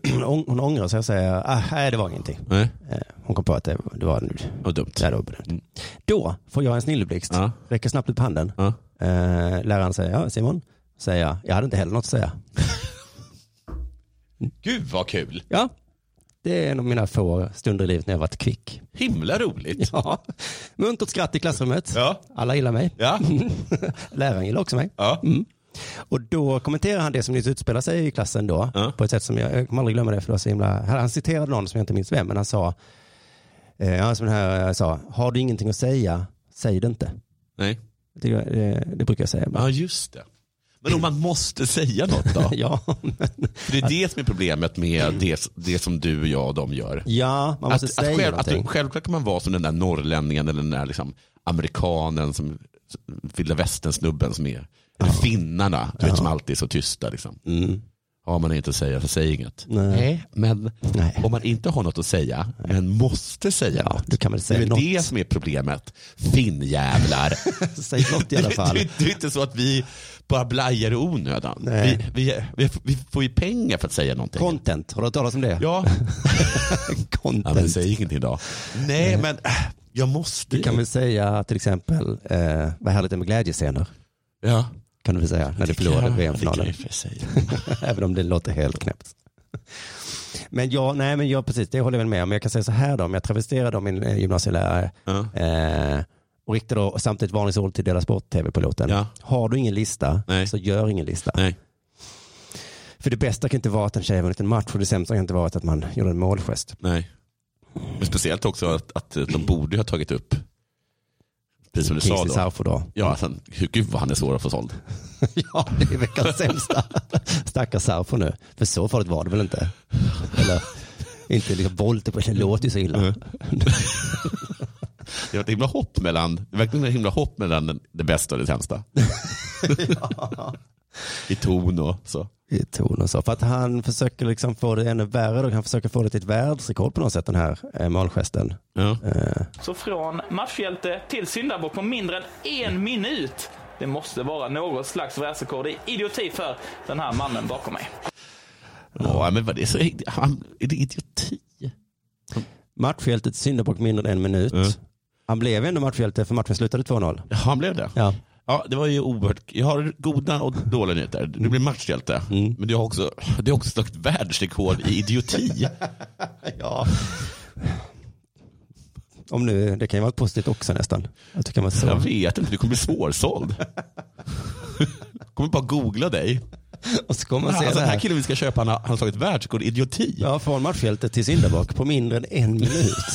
Hon, hon ångrar sig och säger, ah, nej det var ingenting.
Nej,
Eh, hon kom på att det, det var...
vad dumt.
Nej, det var bedömt.
Mm.
Då får jag en snilleblixt,
Ja.
räcker snabbt upp handen.
Ja.
Eh, läraren säger, ja Simon, säger jag, jag hade inte heller något att säga.
Gud vad kul.
Ja, Det är en av mina få stunder i livet när jag varit kvick.
Himla roligt.
Ja. Muntert skratt i klassrummet.
Ja.
Alla gillar mig.
Ja.
Läraren gillar också mig.
Ja.
Och då kommenterar han det som nyss utspelar sig i klassen då.
Ja.
På ett sätt som jag, jag kommer aldrig glömma det för det var så himla, han han citerade någon som jag inte minns vem, men han sa, eh, han som den här eh, sa, har du ingenting att säga, säg det inte.
Nej.
Det, tycker jag- det, det brukar jag säga ibland.
Ja, just det. Men om man måste säga något då?
Ja, men,
För det är det som är problemet med det, det som du, och jag och de gör.
ja man
Att,
måste
att
säga
själv, att,
någonting.
du- självklart kan man vara som den där norrlänningen eller den där liksom, amerikanen, som, vilda västern-snubben som är, eller finnarna, du vet, som alltid är så tysta. Liksom.
Mm.
Har man inget att säga så säg inget.
Nej.
men
Nej.
om man inte har något att säga, men måste säga
Ja,
något.
du kan väl säga
det är
något.
väl det som är problemet. Finnjävlar.
Säg något i alla fall.
Det, det, det är inte så att vi bara blajar i onödan. Vi,
Nej.
vi, vi, vi får ju pengar för att säga någonting.
Content, har du hört talas om det?
ja. ja, men
Content.
säg ingenting idag. Nej, men äh, jag måste
du kan väl säga till exempel, eh, vad härligt det är med glädjescener.
Ja.
Kan du väl säga när du förlorade
Ja, det kan
VM-finalen.
jag för sig.
Även om det låter helt knäppt. Men jag, nej men jag, precis, det håller jag väl med om. Men jag kan säga så här då, om jag travesterar då min eh, gymnasielärare
Ja.
eh, och riktar då samtidigt varningsord till deras sport-tv-piloten.
Ja.
Har du ingen lista
Nej.
så gör ingen lista.
Nej.
För det bästa kan inte vara att en tjej har vunnit en match och det sämsta kan inte vara att man gjorde en målgest.
Nej. Men speciellt också att, att de borde ju ha tagit upp, precis som du sa
Kingsley
då.
Sarfo då.
Ja, alltså, hur- gud vad han är svår att få såld.
ja, det är veckans sämsta. Stackars Sarfo nu. För så farligt var det väl inte? Eller inte liksom volter på, det låter ju så
Mm.
illa.
Det var ett himla hopp mellan, det var verkligen ett himla hopp mellan den- det bästa och det sämsta. I ton och så.
i ton och så. För att han försöker liksom få det ännu värre då. Han försöker få det till ett världsrekord på något sätt den här eh, målgesten.
Ja.
Eh,
Så från matchhjälte till syndabock på mindre än en minut. Det måste vara något slags världsrekord i idioti för den här mannen bakom mig.
Ja, men vad det är, så, han, är det idioti?
Matchhjältet syndabock mindre än en minut.
Mm.
Han blev ändå matchhjälte för matchen slutade 2-0.
Ja, han blev det?
Ja.
Ja, det var ju oerhört. Jag har goda och dåliga nyheter. Du blir matchhjälte.
Mm.
Men du har också, det har också slagit världsrekord i idioti.
ja. Om nu, det kan ju vara positivt också nästan. Att det kan vara så.
Jag vet inte, du kommer bli svårsåld. kommer bara googla dig.
Och så kommer man se
Alltså,
det
den här
här.
killen vi ska köpa, han har, han har slagit världsrekord i idioti.
Ja, från matchhjälte till syndabock på mindre än en minut.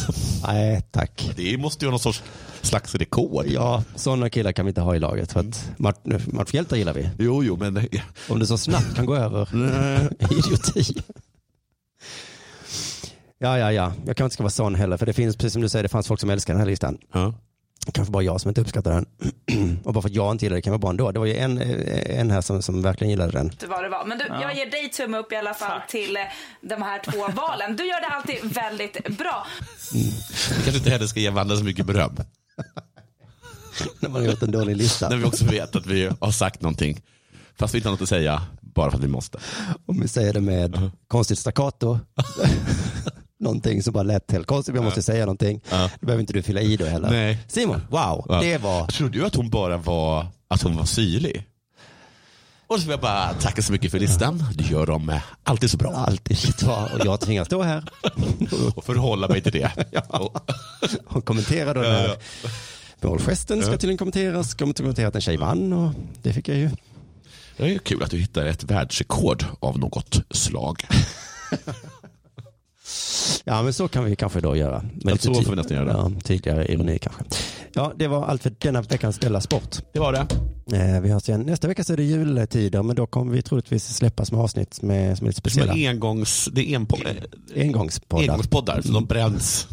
Nej, tack.
Det måste ju vara någon sorts slags rekord.
Ja, sådana killar kan vi inte ha i laget för att match, matchhjältar gillar vi.
Jo, jo, men
Om det så snabbt kan gå över idioti. Ja, ja, ja. Jag kanske inte ska vara sån heller, för det finns, precis som du säger, det fanns folk som älskar den här listan.
Ja.
Kanske bara jag som inte uppskattar den. Och bara för att jag inte gillar det kan vara bra ändå. Det var ju en, en här som, som verkligen gillade den.
inte vad det var. Men du, jag ger dig tumme upp i alla fall
Tack.
till eh, de här två valen. Du gör det alltid väldigt bra.
kanske inte heller ska ge varandra så mycket beröm.
När man har gjort en dålig lista.
När vi också vet att vi har sagt någonting. Fast vi inte har något att säga, bara för att vi måste.
Om vi säger det med konstigt staccato. Någonting som bara lät helt konstigt, men jag måste säga någonting. Då behöver inte du fylla i då heller.
Nej.
Simon, wow,
Ja.
det var...
Tror du att hon bara var, att hon var syrlig? Och så vill jag bara tacka så mycket för listan. Du gör dem eh, alltid så bra.
Alltid shit vad, och jag tvingas stå här
Och förhålla mig till det. Och-
och kommentera då den här målgesten ska tydligen kommenteras. Kommer inte kommentera att en tjej vann och det fick jag ju.
Det är ju kul att du hittar ett världsrekord av något slag.
Ja men så kan vi kanske då göra. Men
Ja,
lite
så
ty-
får vi nästan göra.
Ja, tydligare ironi kanske. Ja det var allt för denna veckans Della Sport.
Det var det.
Eh, vi hörs igen. Nästa vecka så är det jultider men då kommer vi troligtvis släppa små avsnitt med, som är lite
Som
speciella.
en engångs, det är en, eh,
Engångspoddar.
engångspoddar, så de bränns.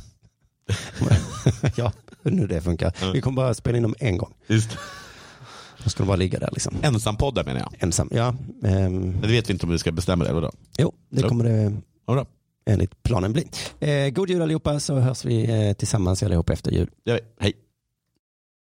ja, nu det funkar. Vi kommer bara spela in dem en gång.
Just.
Då ska de bara ligga där liksom.
Ensampoddar menar jag.
Ensam. Ja, ehm,
Men det vet vi inte om vi ska bestämma det, eller då?
jo det
Ja.
kommer det
Ja, då.
enligt planen bli. Eh, god jul allihopa så hörs vi eh, tillsammans allihopa efter jul.
Det gör vi. Hej.